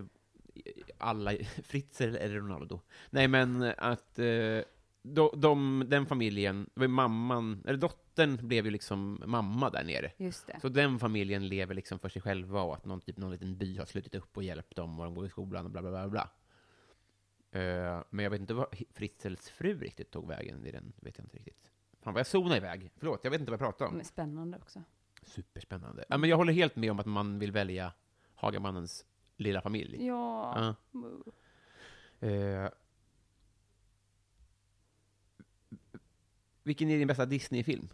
Speaker 1: alla, Fritzl eller Ronaldo. Nej men att eh, de, de, den familjen, det var ju mamman, eller dottern blev ju liksom mamma där nere.
Speaker 2: Just det.
Speaker 1: Så den familjen lever liksom för sig själva och att någon, typ, någon liten by har slutit upp och hjälpt dem och de går i skolan och bla bla bla. bla. Eh, men jag vet inte vad Fritzls fru riktigt tog vägen i den, vet jag inte riktigt. Fan vad jag zonade iväg, förlåt, jag vet inte vad jag pratar om.
Speaker 2: Men spännande också.
Speaker 1: Superspännande. Ja, men jag håller helt med om att man vill välja Hagamannens lilla familj.
Speaker 2: Ja.
Speaker 1: Ja. Eh, vilken är din bästa Disney-film?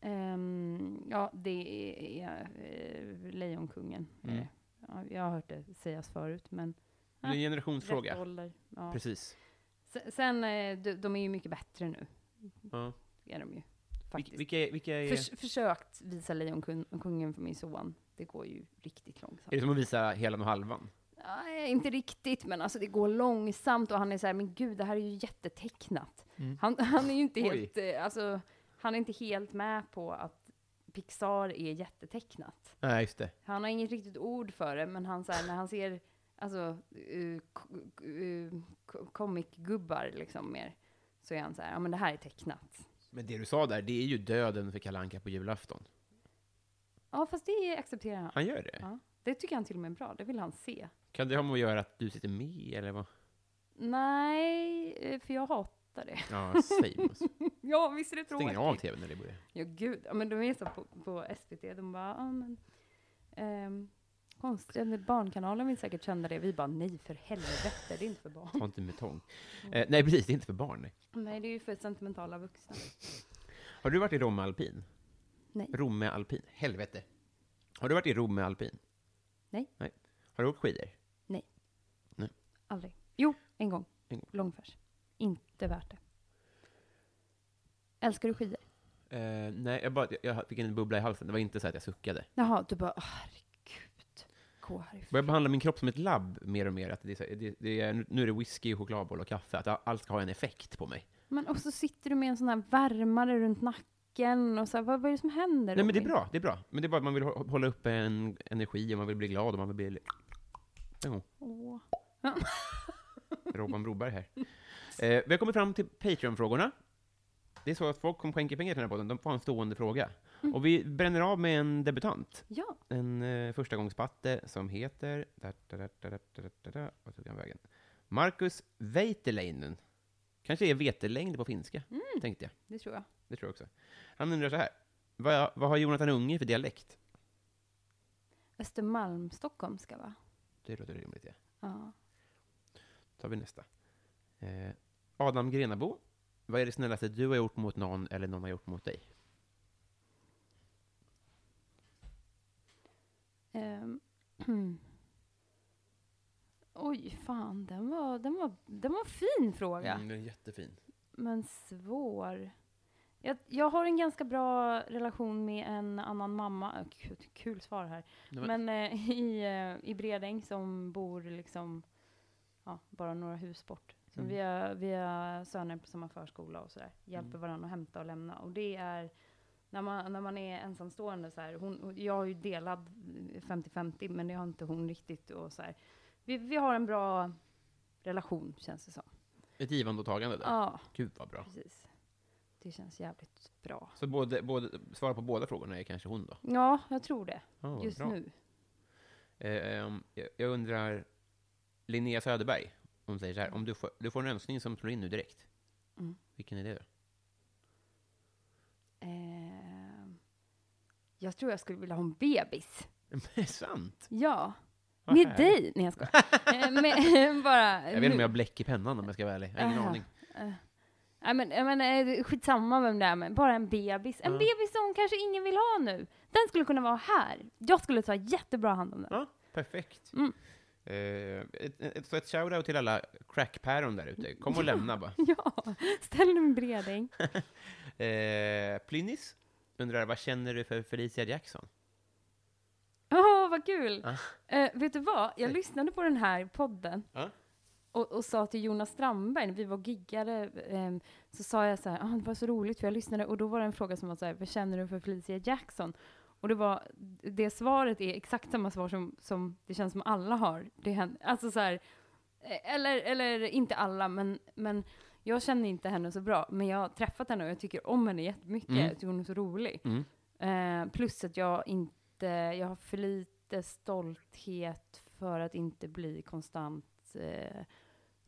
Speaker 2: Ehm, ja, det är eh, Lejonkungen. är
Speaker 1: Mm.
Speaker 2: det. Ja, jag har hört det sägas förut, men
Speaker 1: Det är en
Speaker 2: rätt
Speaker 1: generationsfråga.
Speaker 2: ålder. Ja.
Speaker 1: Precis.
Speaker 2: Se- Sen, eh, de, de är ju mycket bättre nu.
Speaker 1: Ja.
Speaker 2: Är de ju,
Speaker 1: Vilka,
Speaker 2: faktiskt.
Speaker 1: vilka, är- vilka är...
Speaker 2: Förs- försökt visa Lejonkungen för min son. Det går ju riktigt långsamt.
Speaker 1: Är det som att visa helan och halvan?
Speaker 2: Nej, inte riktigt, men alltså det går långsamt och han är så här, men gud, det här är ju jättetecknat. Han, han är ju inte
Speaker 1: Mm. Oj.
Speaker 2: helt, eh, alltså, han är inte helt med på att Pixar är jättetecknat.
Speaker 1: Nej, just det.
Speaker 2: Han har inget riktigt ord för det, men han så här, när han ser alltså, uh, k- uh, k- comic-gubbar liksom mer, så är han så här, ja men det här är tecknat.
Speaker 1: Men det du sa där, det är ju döden för Kalanka på julafton.
Speaker 2: Ja, fast det accepterar han.
Speaker 1: Han gör det?
Speaker 2: Ja, det tycker han till och med är bra, det vill han se.
Speaker 1: Kan det ha med att göra att du sitter med, eller vad?
Speaker 2: Nej, eh, för jag hatar det.
Speaker 1: Ja, säg alltså.
Speaker 2: Ja, visst är det
Speaker 1: Stänger av
Speaker 2: tråkigt?
Speaker 1: tvn när det börjar.
Speaker 2: Ja, gud. Ja, men de är så på, på SVT, de bara, ja men, ehm, konstigt, Barnkanalen vill säkert känna det. Vi bara, nej för helvete, det är inte för barn.
Speaker 1: Ta inte med tång.
Speaker 2: Mm.
Speaker 1: Eh, nej, precis, det är inte för barn. Nej.
Speaker 2: Nej, det är ju för sentimentala vuxna.
Speaker 1: Har du varit i Romme alpin?
Speaker 2: Nej.
Speaker 1: Romme alpin? Helvete. Har du varit i Romme alpin?
Speaker 2: Nej.
Speaker 1: Nej. Har du åkt skidor?
Speaker 2: Aldrig. Jo, en gång.
Speaker 1: En gång.
Speaker 2: Långfärs. Inte värt det. Älskar du skidor?
Speaker 1: Eh, nej, jag, bara, jag fick en bubbla i halsen. Det var inte så att jag suckade.
Speaker 2: Jaha, du bara, "Åh, herregud, gå härifrån.
Speaker 1: Jag börjar behandla min kropp som ett labb mer och mer. Att det är, så- det, det är, nu är det whisky, chokladboll och kaffe. Att allt ska ha en effekt på mig.
Speaker 2: Men och så sitter du med en sån här värmare runt nacken och så här, vad, vad är det som händer?
Speaker 1: Nej, men det är
Speaker 2: Robin?
Speaker 1: bra. Det är bra. Men det är bara att man vill hå- hålla uppe en energi och man vill bli glad och man vill bli... Jo,
Speaker 2: Åh.
Speaker 1: Robban Broberg här. Eh, vi har kommit fram till Patreon-frågorna. Det är så att folk som skänker pengar till den här podden, de får en stående fråga. Och vi bränner av med en debutant.
Speaker 2: Ja,
Speaker 1: En eh, förstagångspatte som heter... Da, da, da, da, da, da, da, da, vad tog han vägen? Marcus Veiteleinen. Kanske är vetelängd på finska, tänkte jag.
Speaker 2: det tror jag.
Speaker 1: Det tror jag också. Han undrar så här. Vad, vad har Jonathan Unge för dialekt?
Speaker 2: Östermalm, Stockholm ska vara.
Speaker 1: Det låter rimligt, ja.
Speaker 2: Ja.
Speaker 1: tar vi nästa. Eh, Adam Grenabo. Vad är det snällaste du har gjort mot någon eller någon har gjort mot dig?
Speaker 2: Ehm, Oj, fan, den var, den var, den var en fin fråga.
Speaker 1: Mm, det är jättefin.
Speaker 2: Men svår. Jag, jag har en ganska bra relation med en annan mamma, Äh, kul, kul svar här,
Speaker 1: Nej,
Speaker 2: men eh, i, eh, i Bredäng som bor liksom, ja, bara några hus bort. Så
Speaker 1: Mm.
Speaker 2: vi, har, vi har söner på samma förskola och sådär, hjälper
Speaker 1: Mm.
Speaker 2: varandra att hämta och lämna. Och det är, när man, när man är ensamstående så här, hon, och jag har ju delat 50-50, men det har inte hon riktigt. Och så här. Vi, vi har en bra relation, känns det som.
Speaker 1: Ett givande och tagande där.
Speaker 2: Ja.
Speaker 1: Gud vad bra.
Speaker 2: Precis. Det känns jävligt bra.
Speaker 1: Så både, både, svara på båda frågorna är kanske hon då?
Speaker 2: Ja, jag tror det.
Speaker 1: Ja, vad
Speaker 2: just
Speaker 1: bra.
Speaker 2: nu.
Speaker 1: Eh, ehm, jag- jag undrar, Linnea Söderberg, hon säger så här, om du får, du får en önskning som slår in nu direkt.
Speaker 2: Mm.
Speaker 1: Vilken är det då?
Speaker 2: Ehm, jag tror jag skulle vilja ha en bebis.
Speaker 1: Det är sant!
Speaker 2: Ja.
Speaker 1: Vad
Speaker 2: med
Speaker 1: härligt.
Speaker 2: dig! Nej, jag skojar. Ehm, med, bara,
Speaker 1: Jag vet inte om jag har bläck i pennan om jag ska vara ärlig. Jag har ingen
Speaker 2: Aha.
Speaker 1: aning.
Speaker 2: Nej, men, jag menar, eh, skitsamma vem det är, men bara en bebis. En
Speaker 1: Ja.
Speaker 2: bebis som kanske ingen vill ha nu. Den skulle kunna vara här. Jag skulle ta jättebra hand om den.
Speaker 1: Ja, perfekt.
Speaker 2: Mm.
Speaker 1: Eh, ett, ett, så ett shoutout till alla crackpäron där ute. Kom och lämna bara.
Speaker 2: Ja, ställ den bredäng.
Speaker 1: Eh, Plynnis undrar, vad känner du för Felicia Jackson?
Speaker 2: Åh, vad kul!
Speaker 1: Ja.
Speaker 2: Eh, vet du vad? Jag
Speaker 1: Säg.
Speaker 2: lyssnade på den här podden
Speaker 1: Ja.
Speaker 2: och, och sa till Jonas Strandberg, när vi var giggade, ehm, så sa jag så här, ah, det var så roligt för jag lyssnade, och då var det en fråga som var så här, vad känner du för Felicia Jackson? Och det, var, det svaret är exakt samma svar som, som det känns som alla har. Det händer, alltså så här, eh, eller, eller inte alla, men, men jag känner inte henne så bra, men jag har träffat henne och jag tycker om henne jättemycket.
Speaker 1: Mm.
Speaker 2: Jag tycker hon är så rolig.
Speaker 1: Mm.
Speaker 2: Eh, plus att jag inte, jag har för lite stolthet för att inte bli konstant eh,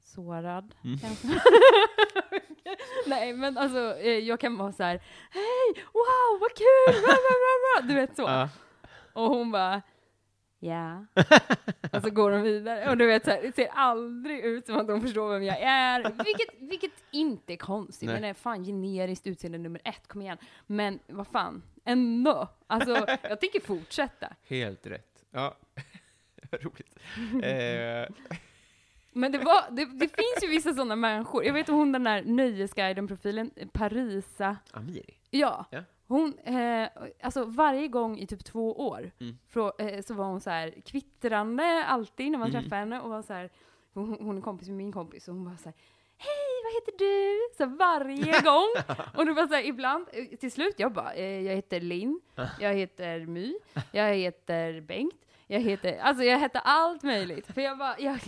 Speaker 2: sårad.
Speaker 1: Mm.
Speaker 2: kanske. Nej, men alltså eh, jag kan vara så här, hej, wow, vad kul, bra, bra, bra, bra. du vet så.
Speaker 1: Ja.
Speaker 2: Och hon bara, ja. Och så går hon vidare. Och du vet, så här, det ser aldrig ut som att de förstår vem jag är. Vilket, vilket inte är konstigt.
Speaker 1: Nej.
Speaker 2: Men det är fan generiskt utseende nummer ett, kom igen. Men vad fan, ändå. Alltså, jag tänker fortsätta.
Speaker 1: Helt rätt. Ja, roligt. Eh,
Speaker 2: Men det, var, det, det finns ju vissa sådana människor. Jag vet hon den där Nöjesguiden-profilen, Parisa.
Speaker 1: Amiri?
Speaker 2: Ja.
Speaker 1: Ja.
Speaker 2: Hon, eh, alltså varje gång i typ två år
Speaker 1: Mm.
Speaker 2: frå, eh, så var hon så här kvittrande alltid när man
Speaker 1: Mm.
Speaker 2: träffade henne och var så här, hon, hon är kompis med min kompis och hon var så här Hej, vad heter du? Så här varje gång. Och det var så här, ibland, eh, till slut, jag bara, eh, jag heter Linn, jag heter My, jag heter Bengt, jag heter, alltså jag heter allt möjligt. För jag bara, jag,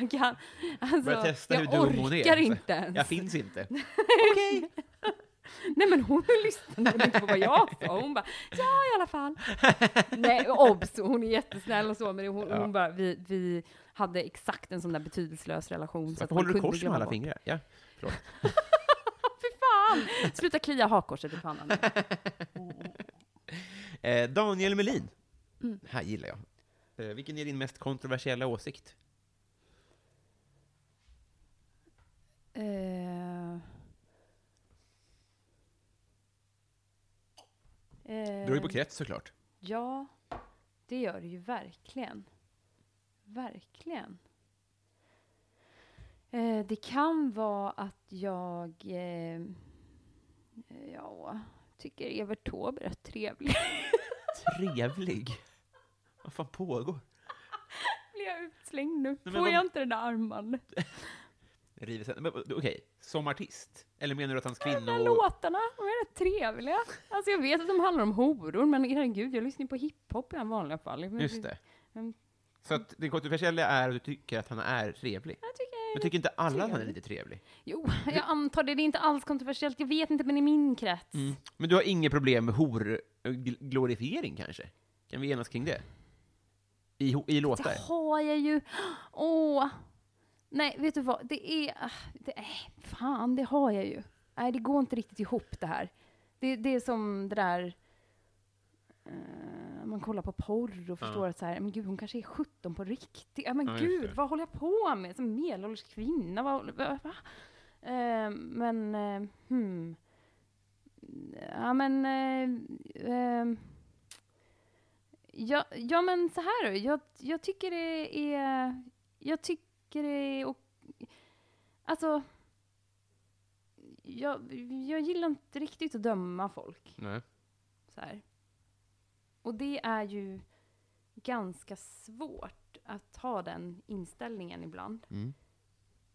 Speaker 2: jag kan, alltså,
Speaker 1: Börja testa hur
Speaker 2: jag
Speaker 1: dum hon är. alltså.
Speaker 2: orkar inte ens.
Speaker 1: Jag finns inte.
Speaker 2: Nej men hon lyssnade inte på vad jag sa. Hon bara, ja i alla fall. Nej obs, hon är jättesnäll och så, men hon,
Speaker 1: Ja.
Speaker 2: hon bara, vi, vi hade exakt en sån där betydelslös relation.
Speaker 1: Varför
Speaker 2: man
Speaker 1: håller du
Speaker 2: kunde
Speaker 1: kors med
Speaker 2: glömma
Speaker 1: alla
Speaker 2: bort.
Speaker 1: fingrar? Ja.
Speaker 2: Fy fan! Sluta klia hakkorset i pannan nu.
Speaker 1: Eh, Daniel Melin.
Speaker 2: Mm.
Speaker 1: Här gillar jag. Eh, vilken är din mest kontroversiella åsikt?
Speaker 2: Eh.
Speaker 1: Det
Speaker 2: Eh,
Speaker 1: beror ju på krets såklart.
Speaker 2: Ja, det gör det ju verkligen. Verkligen. Eh, det kan vara att jag... Eh, ja, tycker Evert Taube är rätt trevlig.
Speaker 1: Trevlig. Vad fan pågår?
Speaker 2: Blir jag utslängd nu?
Speaker 1: men
Speaker 2: Får
Speaker 1: vad-
Speaker 2: jag inte den där armband?
Speaker 1: River sen. Men, Okej, som artist? Eller menar du att hans
Speaker 2: De där
Speaker 1: kvinno...
Speaker 2: låtarna, de är rätt trevliga. Alltså jag vet att de handlar om horor, men herregud, jag lyssnar ju på hiphop i vanliga fall. Men-
Speaker 1: Just det.
Speaker 2: men-
Speaker 1: Så att det kontroversiella är att du tycker att han är trevlig.
Speaker 2: Jag tycker...
Speaker 1: Men tycker inte alla att han är
Speaker 2: Trevlig.
Speaker 1: lite trevlig?
Speaker 2: Jo, jag antar det. Det är inte alls kontroversiellt. Jag vet inte, men i min krets.
Speaker 1: Men du har inget problem med horglorifiering kanske? Kan vi enas kring det? I, ho- i låtar?
Speaker 2: Det har jag ju. Åh! Nej, vet du vad? Det är... ah, Det, nej, fan, det har jag ju. Nej, det går inte riktigt ihop det här. Det, det är som det där... eh, man kollar på porr och förstår att så här, men gud, hon kanske är 17 på riktigt. Ja, men
Speaker 1: Ja, just
Speaker 2: gud,
Speaker 1: det.
Speaker 2: vad håller jag på med? Som medelålders kvinna, vad håller- va? va? Eh, men, eh, hmm. Ja, men... eh, ehm. Ja, ja men så här då. Jag, jag tycker det är... Jag tycker det är... Och, alltså... Jag, jag gillar inte riktigt att döma folk.
Speaker 1: Nej.
Speaker 2: Så här. Och det är ju ganska svårt att ha den inställningen ibland.
Speaker 1: Mm.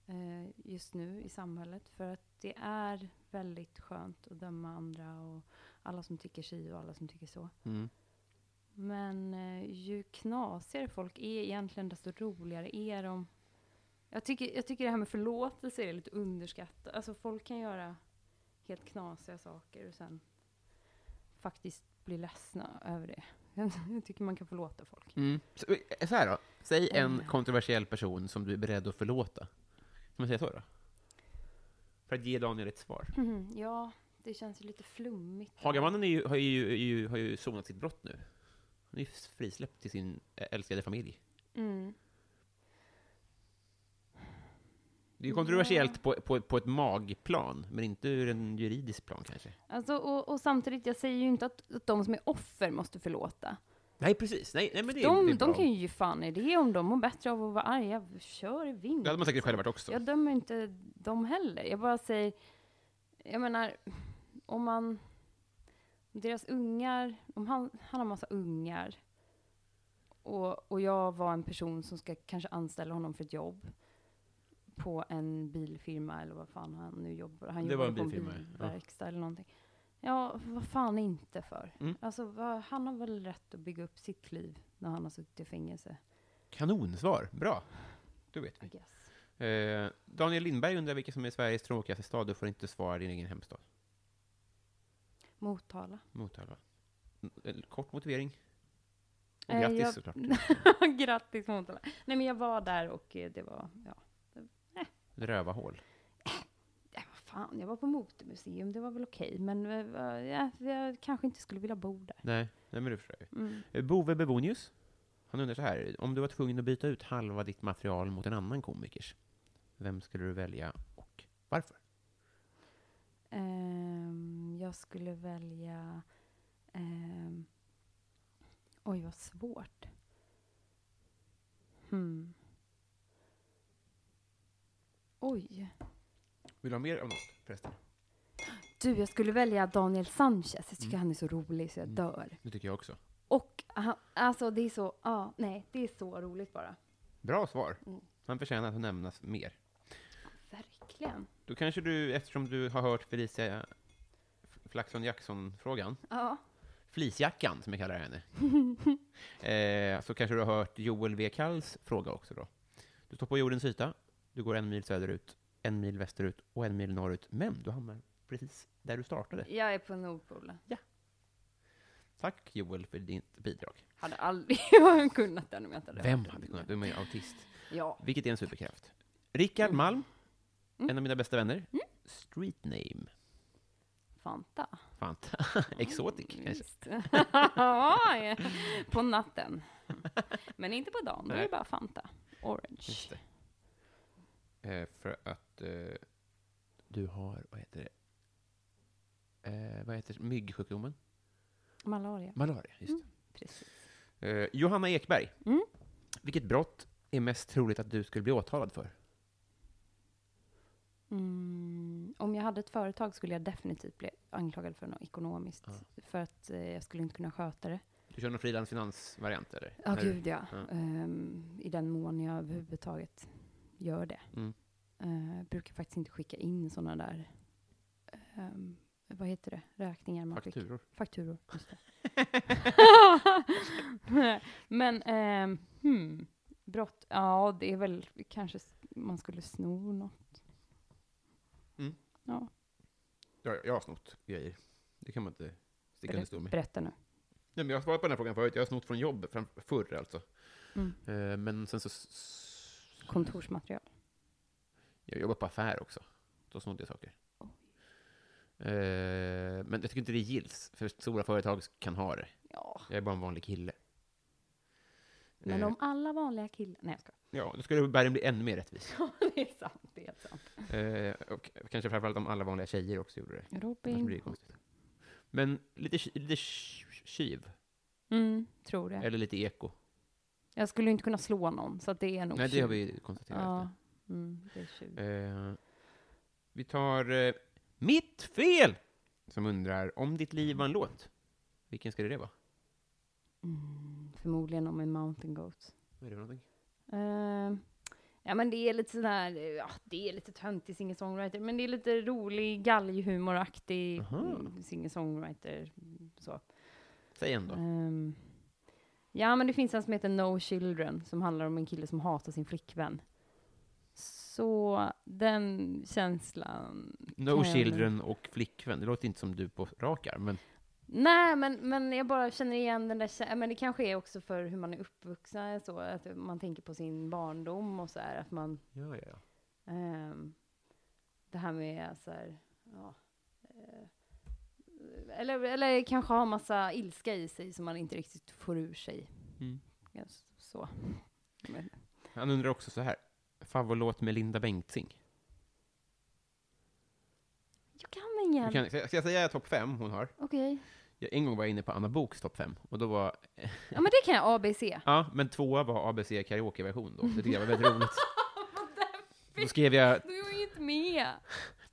Speaker 2: Eh, just nu i samhället. För att det är väldigt skönt att döma andra och alla som tycker si och alla som tycker så.
Speaker 1: Mm.
Speaker 2: Men eh, ju knasigare folk är egentligen, desto roligare är de. Jag tycker, jag tycker det här med förlåtelse är lite underskattat. Alltså folk kan göra helt knasiga saker och sen faktiskt bli ledsna över det. Jag tycker man kan förlåta folk.
Speaker 1: Mm. Så, eh, så här då, säg en kontroversiell person som du är beredd att förlåta. Kan man säga så då? För att ge Daniel ett svar.
Speaker 2: Mm-hmm. Ja, det känns ju lite flummigt.
Speaker 1: Hagamannen är ju, har, ju, är ju, har ju sonat sitt brott nu. Han är ju frisläppt till sin eh, älskade familj.
Speaker 2: Mm.
Speaker 1: Det är ju kontroversiellt på, på, på ett magplan, men inte ur en juridisk plan kanske.
Speaker 2: Alltså, och, och samtidigt, jag säger ju inte att, att de som är offer måste förlåta.
Speaker 1: Nej, precis. Nej, nej men det, är- det
Speaker 2: De,
Speaker 1: är
Speaker 2: de
Speaker 1: bra.
Speaker 2: kan ju ge fan i det om de mår bättre av att vara arga. Kör i vind.
Speaker 1: Det hade man säkert själv varit också.
Speaker 2: Jag dömer inte dem heller. Jag bara säger, jag menar, om man, om deras ungar, om han, han har massa ungar och, och jag var en person som ska kanske anställa honom för ett jobb på en bilfirma eller vad fan han nu jobbar. Han
Speaker 1: Det
Speaker 2: jobbar
Speaker 1: var en
Speaker 2: på en
Speaker 1: bilfirma, ja.
Speaker 2: bilverkstad eller någonting. Ja, vad fan inte för?
Speaker 1: Mm.
Speaker 2: Alltså, vad, han har väl rätt att bygga upp sitt liv när han har suttit i fängelse.
Speaker 1: Kanonsvar. Bra. Då vet
Speaker 2: I
Speaker 1: vi.
Speaker 2: guess.
Speaker 1: Eh, Daniel Lindberg undrar vilken som är Sveriges tråkigaste stad. Du får inte svara din egen hemstad.
Speaker 2: Motala.
Speaker 1: Motala. Mm, en Kort motivering. Och
Speaker 2: Eh,
Speaker 1: grattis
Speaker 2: jag-
Speaker 1: såklart. Mm.
Speaker 2: Grattis Motala. Nej men jag var där och eh, det var, ja,
Speaker 1: Rövahål.
Speaker 2: ja vad fan, jag var på Motormuseum, det var väl okej, men eh, va- ja, jag kanske inte skulle vilja bo där.
Speaker 1: Nej, nej men du förstår ju.
Speaker 2: Mm.
Speaker 1: Eh, Bove Bebonius. Han undrar så här. Om du var tvungen att byta ut halva ditt material mot en annan komikers. Vem skulle du välja och varför?
Speaker 2: Ehm, jag skulle välja, ehm, oj vad svårt. Hmm. Oj.
Speaker 1: Vill du ha mer av något förresten?
Speaker 2: Du, jag skulle välja Daniel Sanchez. Jag tycker
Speaker 1: Mm.
Speaker 2: han är så rolig så jag dör.
Speaker 1: Det tycker jag också.
Speaker 2: Och han, alltså det är så, ja, nej, det är så roligt bara.
Speaker 1: Bra svar.
Speaker 2: Mm.
Speaker 1: Han förtjänar att nämnas mer.
Speaker 2: Verkligen.
Speaker 1: Då kanske du, eftersom du har hört Felicia Flaxon Jackson-frågan,
Speaker 2: Ja.
Speaker 1: Flisjackan som jag kallar henne, eh, så kanske du har hört Joel W. Kalls fråga också då. Du står på jordens yta, du går en mil söderut, en mil västerut och en mil norrut, men du hamnar precis där du startade.
Speaker 2: Jag är på Nordpolen.
Speaker 1: Tack Joel för ditt bidrag.
Speaker 2: Hade aldrig kunnat den om jag inte hade
Speaker 1: Vem
Speaker 2: varit
Speaker 1: hade
Speaker 2: det.
Speaker 1: kunnat? Du är ju autist.
Speaker 2: Ja.
Speaker 1: Vilket är en superkraft. Rickard Malm, en av mina bästa vänner. Street name.
Speaker 2: Fanta. Mm,
Speaker 1: Fanta. Exotic kanske.
Speaker 2: Visst. Ja, på natten. Men inte på dagen, då är
Speaker 1: Nej.
Speaker 2: det bara Fanta. Orange.
Speaker 1: Just det. Eh, för att eh, du har, vad heter det? Eh, vad heter myggsjukdomen?
Speaker 2: Malaria.
Speaker 1: Malaria, just det.
Speaker 2: Precis.
Speaker 1: Eh, Johanna Ekberg.
Speaker 2: Mm.
Speaker 1: Vilket brott är mest troligt att du skulle bli åtalad för?
Speaker 2: Mm, Om jag hade ett företag skulle jag definitivt bli anklagad för något ekonomiskt. För att eh, jag skulle inte kunna sköta det.
Speaker 1: Du kör någon frilansfinansvariant eller?
Speaker 2: Ja,
Speaker 1: När du-
Speaker 2: gud ja.
Speaker 1: ja.
Speaker 2: Ehm, I den mån jag överhuvudtaget gör det.
Speaker 1: Mm.
Speaker 2: Eh, brukar faktiskt inte skicka in sådana där, ehm, vad heter det, räkningar man skickar.
Speaker 1: Fakturor.
Speaker 2: Fakturor, just det. Men, ehm, hmm, brott, ja det är väl kanske s- man skulle sno något.
Speaker 1: Mm.
Speaker 2: Ja,
Speaker 1: Jag, jag har snott grejer. Det kan man inte sticka under stol med.
Speaker 2: berätta nu.
Speaker 1: Nej, men jag har svarat på den här frågan förut. Jag har snott från jobb, fram, förr alltså.
Speaker 2: Mm.
Speaker 1: Eh, men sen så... s-
Speaker 2: Kontorsmaterial.
Speaker 1: Jag jobbar på affär också. Då snodde jag saker. Eh, men jag tycker inte det gills, för stora företag kan ha det.
Speaker 2: Ja,
Speaker 1: Jag är bara en vanlig kille.
Speaker 2: men
Speaker 1: Eh,
Speaker 2: om alla vanliga killar, nej jag skojar.
Speaker 1: Ja, då skulle världen bli ännu mer rättvis.
Speaker 2: Det är sant, det är helt sant.
Speaker 1: Eh, och kanske framförallt om alla vanliga tjejer också gjorde det. Annars blir
Speaker 2: Robin
Speaker 1: det konstigt. Men lite, ki- lite ki- kiv,
Speaker 2: Mm, tror det.
Speaker 1: eller lite eko.
Speaker 2: Jag skulle ju inte kunna slå någon, så att det är nog
Speaker 1: Nej, det har
Speaker 2: tjuv.
Speaker 1: vi ju konstaterat.
Speaker 2: Ja, mm, det är tjuv.
Speaker 1: Eh, vi tar eh, Mitt fel! Som undrar, om ditt liv var en låt, vilken skulle det vara?
Speaker 2: Mm, förmodligen om en mountain goat.
Speaker 1: Vad är det för någonting?
Speaker 2: Ehm, ja, men det är lite sån här, eh, ja, det är lite töntig singer-songwriter, men det är lite rolig, galghumoraktig
Speaker 1: Aha.
Speaker 2: mm, singer-songwriter. mm, Så.
Speaker 1: Säg en då.
Speaker 2: Ehm, ja, men det finns en som heter No Children, som handlar om en kille som hatar sin flickvän. Så den känslan
Speaker 1: No
Speaker 2: kan jag
Speaker 1: Children och Flickvän. Det låter inte som du på rakar, men
Speaker 2: Nej, men, men jag bara känner igen den där kä- Men det kanske är också för hur man är uppvuxen, så att man tänker på sin barndom och så här, att man...
Speaker 1: ja, ja, ja.
Speaker 2: ehm, det här med så här, ja... eh, eller, eller kanske har massa ilska i sig som man inte riktigt får ur sig.
Speaker 1: Mm.
Speaker 2: Ja, s- så. Men,
Speaker 1: Han undrar också så här. Favoritlåt med Linda Bengtzing.
Speaker 2: jag kan ingen!
Speaker 1: Jag kan, ska jag ska jag säga topp fem hon har?
Speaker 2: Okej.
Speaker 1: Jag, en gång var jag inne på Anna Boks topp fem, och då var...
Speaker 2: Ja, men det kan jag. ABC.
Speaker 1: Ja, men tvåa var ABC karaokeversion då. Det tyckte jag var väldigt roligt. Då skrev jag
Speaker 2: Du är ju inte med!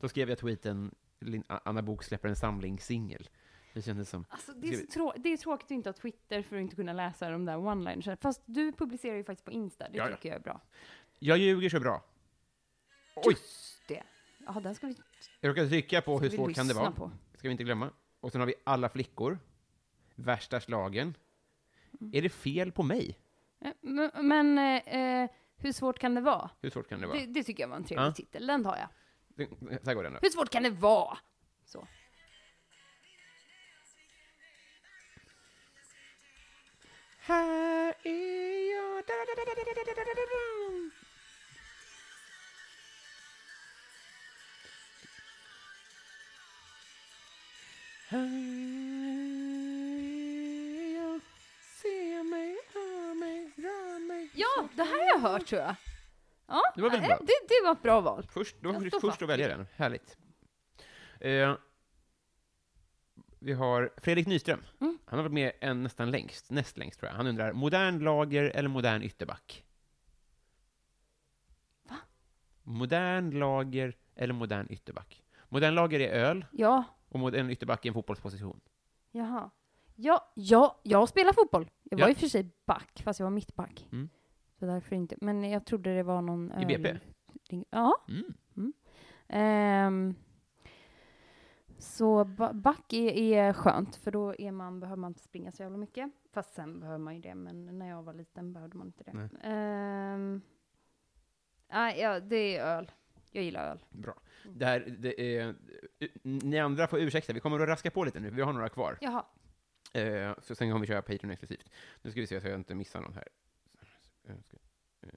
Speaker 1: Då skrev jag tweeten Lin- A- Anna Bok släpper en samlingssingel. Det kändes som...
Speaker 2: Alltså, det, är så trå- det är tråkigt att inte ha Twitter för att inte kunna läsa de där one-linersen. Fast du publicerar ju faktiskt på Insta, det
Speaker 1: Ja, ja.
Speaker 2: tycker jag är bra.
Speaker 1: Jag ljuger så bra. Oj!
Speaker 2: Det. Ja, den ska vi, ska
Speaker 1: Jag råkade trycka på hur
Speaker 2: vi
Speaker 1: svårt kan det
Speaker 2: lyssna
Speaker 1: vara.
Speaker 2: på.
Speaker 1: Ska vi inte glömma. Och sen har vi Alla flickor. Värsta slagen. Är det fel på mig?
Speaker 2: Eh, Men, men eh, eh, hur svårt kan det vara?
Speaker 1: Hur svårt kan det vara?
Speaker 2: Det, det tycker jag var en trevlig
Speaker 1: Ja.
Speaker 2: titel, den tar jag.
Speaker 1: Det... Så här går den då.
Speaker 2: Hur svårt kan det vara? Så.
Speaker 1: Här är jag... Da, da, da, da, da, da, da, da, da, da. Här är jag. Se mig, hör mig, rör mig.
Speaker 2: Ja, det här har jag hört tror jag. Ja,
Speaker 1: Det var väl
Speaker 2: eh,
Speaker 1: bra.
Speaker 2: Det, det var ett bra val.
Speaker 1: Först, då
Speaker 2: Jag
Speaker 1: var
Speaker 2: står
Speaker 1: först
Speaker 2: fast
Speaker 1: att välja den. Härligt. Eh, vi har Fredrik Nyström. Han har varit med en nästan längst, näst längst tror jag. Han undrar, modern lager eller modern ytterback? Va? Modern lager eller modern ytterback? Modern lager är öl
Speaker 2: Ja,
Speaker 1: och modern ytterback är en fotbollsposition.
Speaker 2: jaha. Ja, ja, jag spelar fotboll. Jag
Speaker 1: Ja.
Speaker 2: var i och för sig back, fast jag var mittback.
Speaker 1: Mm.
Speaker 2: Så därför inte. Men jag trodde det var någon...
Speaker 1: I BP?
Speaker 2: öl- Ja.
Speaker 1: Mm.
Speaker 2: Ehm, så ba- back är, är skönt, för då är man, behöver man inte springa så jävla mycket. Fast sen behöver man ju det, men när jag var liten behövde man inte det.
Speaker 1: Nej.
Speaker 2: Ehm, nej, ja, det är öl. Jag gillar öl.
Speaker 1: Bra. Det här, det är, eh, ni andra får ursäkta, vi kommer att raska på lite nu, vi har några kvar.
Speaker 2: Jaha.
Speaker 1: Eh, så sen kommer vi köra Patreon exklusivt. Nu ska vi se så jag inte missar någon här. Eh, ska- eh.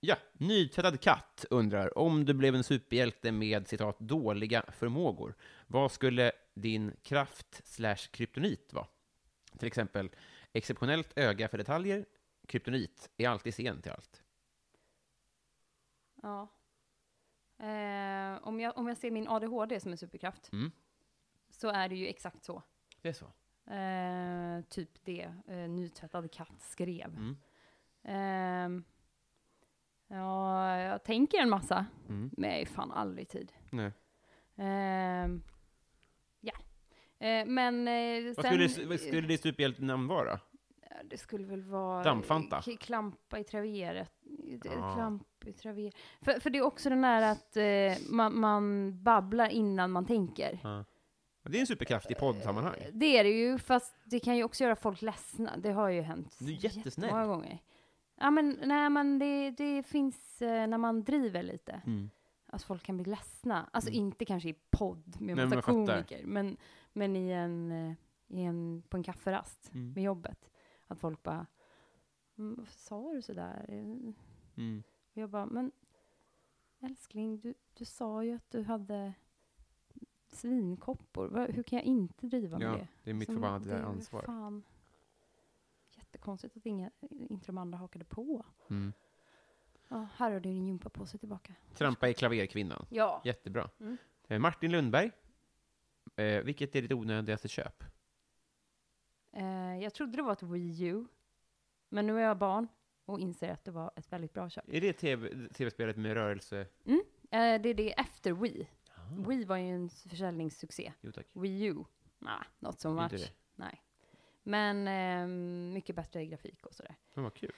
Speaker 1: Ja, nytvättad katt undrar om du blev en superhjälte med citat dåliga förmågor. Vad skulle din kraft slash kryptonit vara? Till exempel exceptionellt öga för detaljer. Kryptonit är alltid sen till allt.
Speaker 2: Ja. Ehm, om, jag, om jag ser min ADHD som en superkraft,
Speaker 1: Mm.
Speaker 2: så är det ju exakt så.
Speaker 1: Det är så.
Speaker 2: Ehm, typ det uh, nytvättad katt skrev.
Speaker 1: Mm.
Speaker 2: Ehm, ja, jag tänker en massa,
Speaker 1: Mm.
Speaker 2: men jag är fan aldrig tid.
Speaker 1: Nej.
Speaker 2: Ehm, ja. Eh, men eh,
Speaker 1: Vad
Speaker 2: sen...
Speaker 1: skulle, vad skulle ditt superhjältenamn vara?
Speaker 2: Ja, Det skulle väl vara...
Speaker 1: Dampfanta.
Speaker 2: k- Klampa i traveret. I- d-
Speaker 1: Ah.
Speaker 2: Klamp i traveret. För, för det är också den där att eh, man, man babblar innan man tänker.
Speaker 1: Det är en superkraft i poddsammanhang.
Speaker 2: Det är det ju, fast det kan ju också göra folk ledsna. Det har ju hänt.
Speaker 1: Du är jättesnäll.
Speaker 2: Många gånger. Ja, men, nej, men det, det finns eh, när man driver lite.
Speaker 1: Mm.
Speaker 2: Alltså folk kan bli ledsna. Alltså inte kanske i podd med
Speaker 1: Nej,
Speaker 2: massa
Speaker 1: men jag fattar.
Speaker 2: komiker, men, men i en, eh, i en, på en kafferast
Speaker 1: Mm.
Speaker 2: med jobbet. Att folk bara, "Mm, varför sa du sådär? Eh,
Speaker 1: Mm.
Speaker 2: Och jag bara, men älskling, du, du sa ju att du hade svinkoppor. Va- Hur kan jag inte driva med
Speaker 1: Ja,
Speaker 2: det?
Speaker 1: det är mitt
Speaker 2: Så det
Speaker 1: förbannade
Speaker 2: är
Speaker 1: ansvar.
Speaker 2: Fan. Jättekonstigt att inga, inte de andra hakade på.
Speaker 1: Mm.
Speaker 2: Ja, här har du din gympapåse tillbaka.
Speaker 1: Trampa i klaverkvinnan.
Speaker 2: Ja.
Speaker 1: Jättebra.
Speaker 2: Mm.
Speaker 1: Eh, Martin Lundberg. Eh, vilket är ditt onödigaste köp?
Speaker 2: Eh, jag trodde det var ett Wii U, men nu är jag barn och inser att det var ett väldigt bra köp.
Speaker 1: Är det TV tv-spelet med rörelse?
Speaker 2: Eh, det är det efter Wii. Wii var ju en försäljningssuccé.
Speaker 1: Jo tack.
Speaker 2: Wii U, nah, not so
Speaker 1: Inte
Speaker 2: much.
Speaker 1: det.
Speaker 2: Nej. Men ehm, mycket bättre grafik och sådär.
Speaker 1: Men vad kul.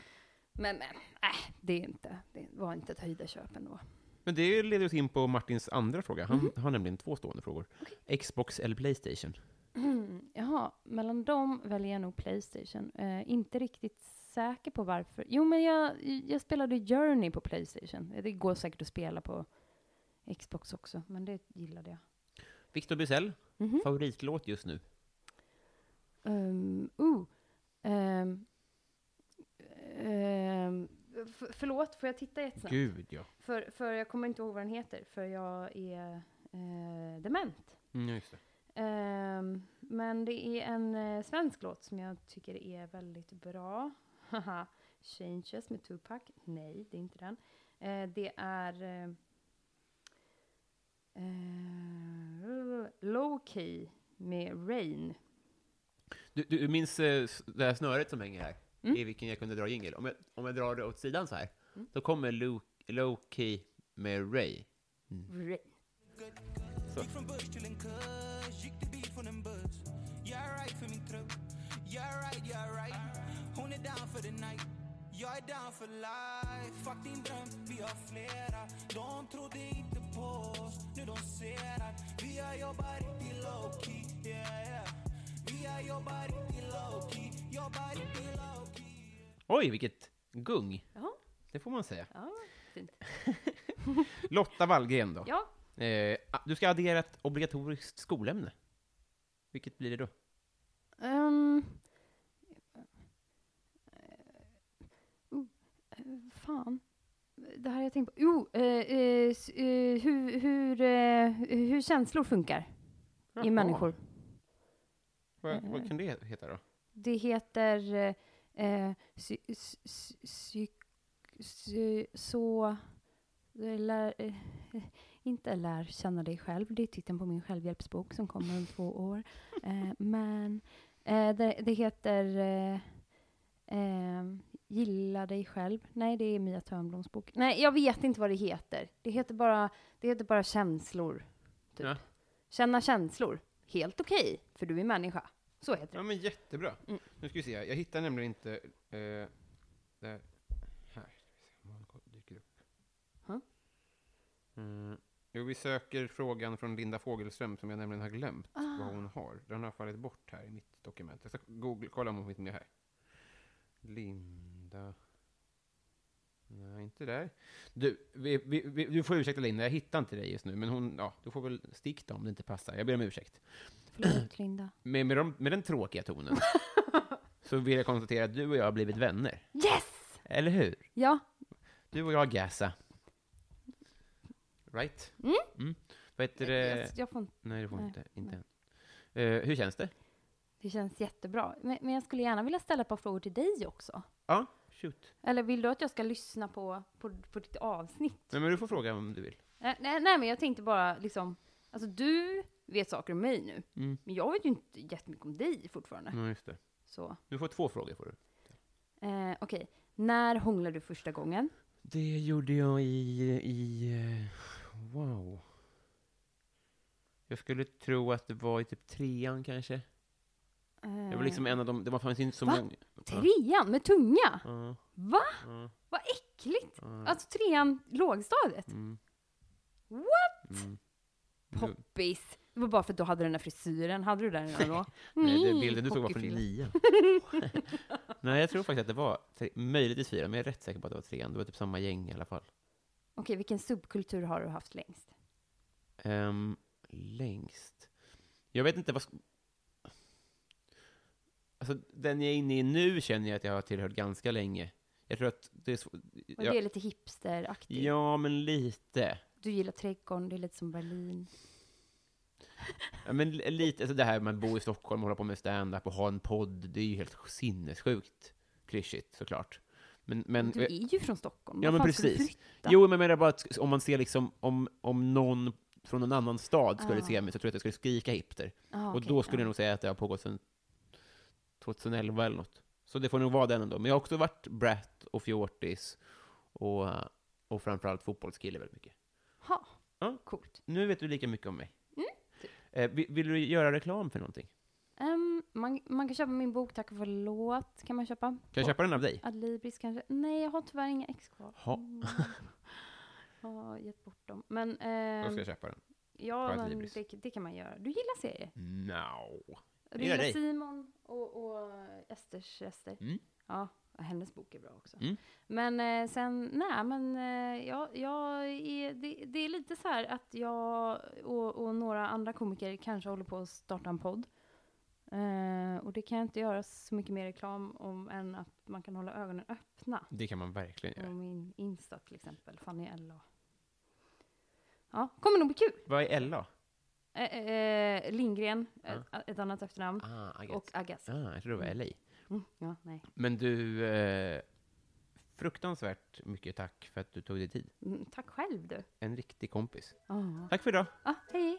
Speaker 2: Men, men, äh, det, är inte, det var inte ett höjdarköp ändå.
Speaker 1: Men det leder oss in på Martins andra fråga. Han har nämligen två stående frågor. Xbox eller Playstation?
Speaker 2: Jaha, mellan dem väljer jag nog Playstation. Eh, inte riktigt säker på varför. Jo, men jag, jag spelade Journey på Playstation. Eh, Det går säkert att spela på Xbox också, men det gillade jag.
Speaker 1: Victor Bysell,
Speaker 2: Mhm.
Speaker 1: favoritlåt just nu?
Speaker 2: Um, oh, ehm, ehm, f- förlåt, får jag titta jättesnabbt?
Speaker 1: Gud, ja.
Speaker 2: För, för jag kommer inte ihåg vad den heter, för jag är eh, dement.
Speaker 1: Mm, just det.
Speaker 2: Ehm, men det är en eh, svensk låt som jag tycker är väldigt bra. Haha, Changes med Tupac. Nej, det är inte den. Eh, det är eh, eh, Low Key med Rain.
Speaker 1: Du, du, du minns eh, s- det här snöret som hänger här? I vilken jag kunde dra jingel. Om jag, om jag drar det åt sidan så här, då kommer Lu- Loki med Ray.
Speaker 2: Rain.
Speaker 3: Från börs till en kurs, gick till bil från en buss Jag är right för min trupp, jag är right, jag är right Hon är down för the night, jag är down för life Fuck din dröm, vi har flera De trodde inte på oss, nu de ser att Vi har jobbat riktigt low key, yeah yeah Vi har jobbat riktigt low key, jobbat riktigt low key
Speaker 1: Oj, vilket gung!
Speaker 2: Ja,
Speaker 1: Det får man säga.
Speaker 2: ja, fint.
Speaker 1: Lotta Wallgren då.
Speaker 2: Ja,
Speaker 1: Eh, a- du ska addera ett obligatoriskt skolämne. Vilket blir det då?
Speaker 2: Ehm. oh, eh, fan. Det här har jag tänkt på. Jo, eh, eh, s- eh, hur, hur, eh, hur känslor funkar i
Speaker 1: Jaha.
Speaker 2: människor.
Speaker 1: Vad, vad kan det heta då?
Speaker 2: Det heter eh, eh, sy, sy, sy, sy, sy, så... Lär, eh, inte lär känna dig själv, det är titeln på min självhjälpsbok som kommer om två år. Eh, men eh, det, det heter eh, eh, Gilla dig själv. Nej, det är Mia Törnbloms bok. Nej, jag vet inte vad det heter. Det heter bara, det heter bara känslor. Typ.
Speaker 1: Ja.
Speaker 2: Känna känslor. Helt okej, för du är människa. Så heter det.
Speaker 1: Ja, men jättebra. Nu ska vi se, här. jag hittar nämligen inte... Eh, där. Här. Ska vi se om han dyker upp.
Speaker 2: Ja.
Speaker 1: Mm. Jo, vi söker frågan från Linda Fågelström som jag nämligen har glömt vad hon har. Den har fallit bort här i mitt dokument. Jag ska googla, kolla om hon finns med här. Linda... Nej, inte där. Du, vi, vi, vi, du får ursäkta Linda, jag hittar inte dig just nu. Men hon, ja, du får väl sticka om det inte passar. Jag ber om ursäkt.
Speaker 2: Förlåt, Linda.
Speaker 1: Med, med, de, med den tråkiga tonen så vill jag konstatera att du och jag har blivit vänner.
Speaker 2: Yes!
Speaker 1: Eller hur?
Speaker 2: Ja.
Speaker 1: Du och jag, Gasa. Right? Mm. Vad heter det?
Speaker 2: Jag, jag får, inte-
Speaker 1: Nej, det får
Speaker 2: Nej,
Speaker 1: inte. Inte än. Eh, hur känns det?
Speaker 2: det känns jättebra. Men, men jag skulle gärna vilja ställa ett par frågor till dig också.
Speaker 1: Ja, shoot.
Speaker 2: Eller vill du att jag ska lyssna på, på, på ditt avsnitt?
Speaker 1: Nej, men du får fråga om du vill.
Speaker 2: Eh, nej, nej, men jag tänkte bara liksom... Alltså du vet saker om mig nu.
Speaker 1: Mm.
Speaker 2: Men jag vet ju inte jättemycket om dig fortfarande.
Speaker 1: Ja, just det.
Speaker 2: Så,
Speaker 1: Du får två frågor. Får du.
Speaker 2: eh, okej. När hånglade du första gången?
Speaker 1: Det gjorde jag i... i eh, wow. Jag skulle tro att det var i typ trean kanske. Det var liksom en av de, det var fanns inte så
Speaker 2: Va?
Speaker 1: många.
Speaker 2: Eh, Trean med tunga?
Speaker 1: Ja,
Speaker 2: Va?
Speaker 1: ja,
Speaker 2: Vad äckligt!
Speaker 1: ja.
Speaker 2: Alltså trean, lågstadiet.
Speaker 1: Mm.
Speaker 2: What?
Speaker 1: Mm.
Speaker 2: Poppis! Det var bara för att du hade den där frisyren. Hade du den redan då?
Speaker 1: Nej, det bilden du tog var från
Speaker 2: hockeyfrilla.
Speaker 1: nian. Nej, jag tror faktiskt att det var tre, möjligtvis fyra, men jag är rätt säker på att det var trean. Det var typ samma gäng i alla fall.
Speaker 2: Okej, vilken subkultur har du haft längst?
Speaker 1: Ehm, längst. Jag vet inte vad... sk- Alltså, den jag är inne i nu känner jag att jag har tillhört ganska länge. Jag tror att det är svårt...
Speaker 2: Och
Speaker 1: Ja,
Speaker 2: det är lite hipsteraktigt.
Speaker 1: ja, men lite.
Speaker 2: Du gillar trädgården, det är lite som Berlin.
Speaker 1: Ja, men li- lite. Alltså det här med att bo i Stockholm, hålla på med stand-up och ha en podd, det är ju helt sinnessjukt klyschigt såklart. Men, men,
Speaker 2: Du är ju från Stockholm.
Speaker 1: Mm, eh, Ja,
Speaker 2: Vad
Speaker 1: men
Speaker 2: fan ska du
Speaker 1: precis.
Speaker 2: flytta?
Speaker 1: Jo, men jag menar bara att om man ser liksom, om, om någon från någon annan stad skulle
Speaker 2: Ah.
Speaker 1: se mig så tror jag att jag skulle skrika hipster.
Speaker 2: Ah,
Speaker 1: och
Speaker 2: okej,
Speaker 1: då skulle
Speaker 2: ja.
Speaker 1: jag nog säga att det har pågått sedan 2011 eller något. Så det får nog vara den ändå. Men jag har också varit brat och fjortis och, och framförallt fotbollskille väldigt mycket.
Speaker 2: Ha.
Speaker 1: Ja.
Speaker 2: Coolt.
Speaker 1: Nu vet du lika mycket om mig.
Speaker 2: Mm.
Speaker 1: Eh, vi- vill du göra reklam för någonting?
Speaker 2: Ehm, man, man kan köpa min bok Tack och förlåt. Kan man köpa?
Speaker 1: Kan jag köpa den av dig?
Speaker 2: Adlibris kanske? Nej, jag har tyvärr inga ex kvar.
Speaker 1: Ha.
Speaker 2: Mm. Jag har gett bort dem. Men,
Speaker 1: Då ska
Speaker 2: ehm,
Speaker 1: jag köpa den.
Speaker 2: ja, men
Speaker 1: Adlibris.
Speaker 2: det, det kan man göra. Du gillar serier?
Speaker 1: No.
Speaker 2: Du
Speaker 1: gillar
Speaker 2: gillar
Speaker 1: dig.
Speaker 2: Simon och, och Esters rester.
Speaker 1: Mm.
Speaker 2: Ja, och hennes bok är bra också.
Speaker 1: Mm.
Speaker 2: Men eh, sen, nej men eh, jag, jag är, det, det är lite så här att jag och, och några andra komiker kanske håller på att starta en podd. Eh, och det kan jag inte göra så mycket mer reklam om än att man kan hålla ögonen öppna.
Speaker 1: Det kan man verkligen
Speaker 2: På
Speaker 1: göra.
Speaker 2: min Insta till exempel, Fanny Ella. Ja, kommer nog bli kul.
Speaker 1: Vad är Ella?
Speaker 2: Eh, eh, Lindgren,
Speaker 1: Ja.
Speaker 2: ett, ett annat efternamn.
Speaker 1: Ah, Agathe.
Speaker 2: Och Agassi.
Speaker 1: Ah, jag tror det var LA.
Speaker 2: Mm, ja, nej.
Speaker 1: Men du, eh, fruktansvärt mycket tack för att du tog dig tid.
Speaker 2: Mm, tack själv du.
Speaker 1: En riktig kompis.
Speaker 2: Ja.
Speaker 1: Tack för idag!
Speaker 2: Ah, hej.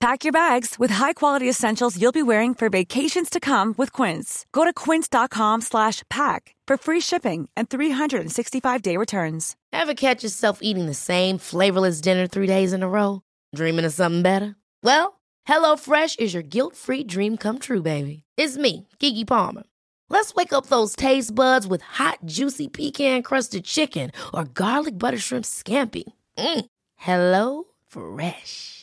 Speaker 4: Pack your bags with high-quality essentials you'll be wearing for vacations to come with Quince. Go to quince.com slash pack for free shipping and 365-day returns.
Speaker 5: Ever catch yourself eating the same flavorless dinner three days in a row? Dreaming of something better? Well, HelloFresh is your guilt-free dream come true, baby. It's me, Kiki Palmer. Let's wake up those taste buds with hot, juicy pecan-crusted chicken or garlic butter shrimp scampi. Mm. Hello Fresh.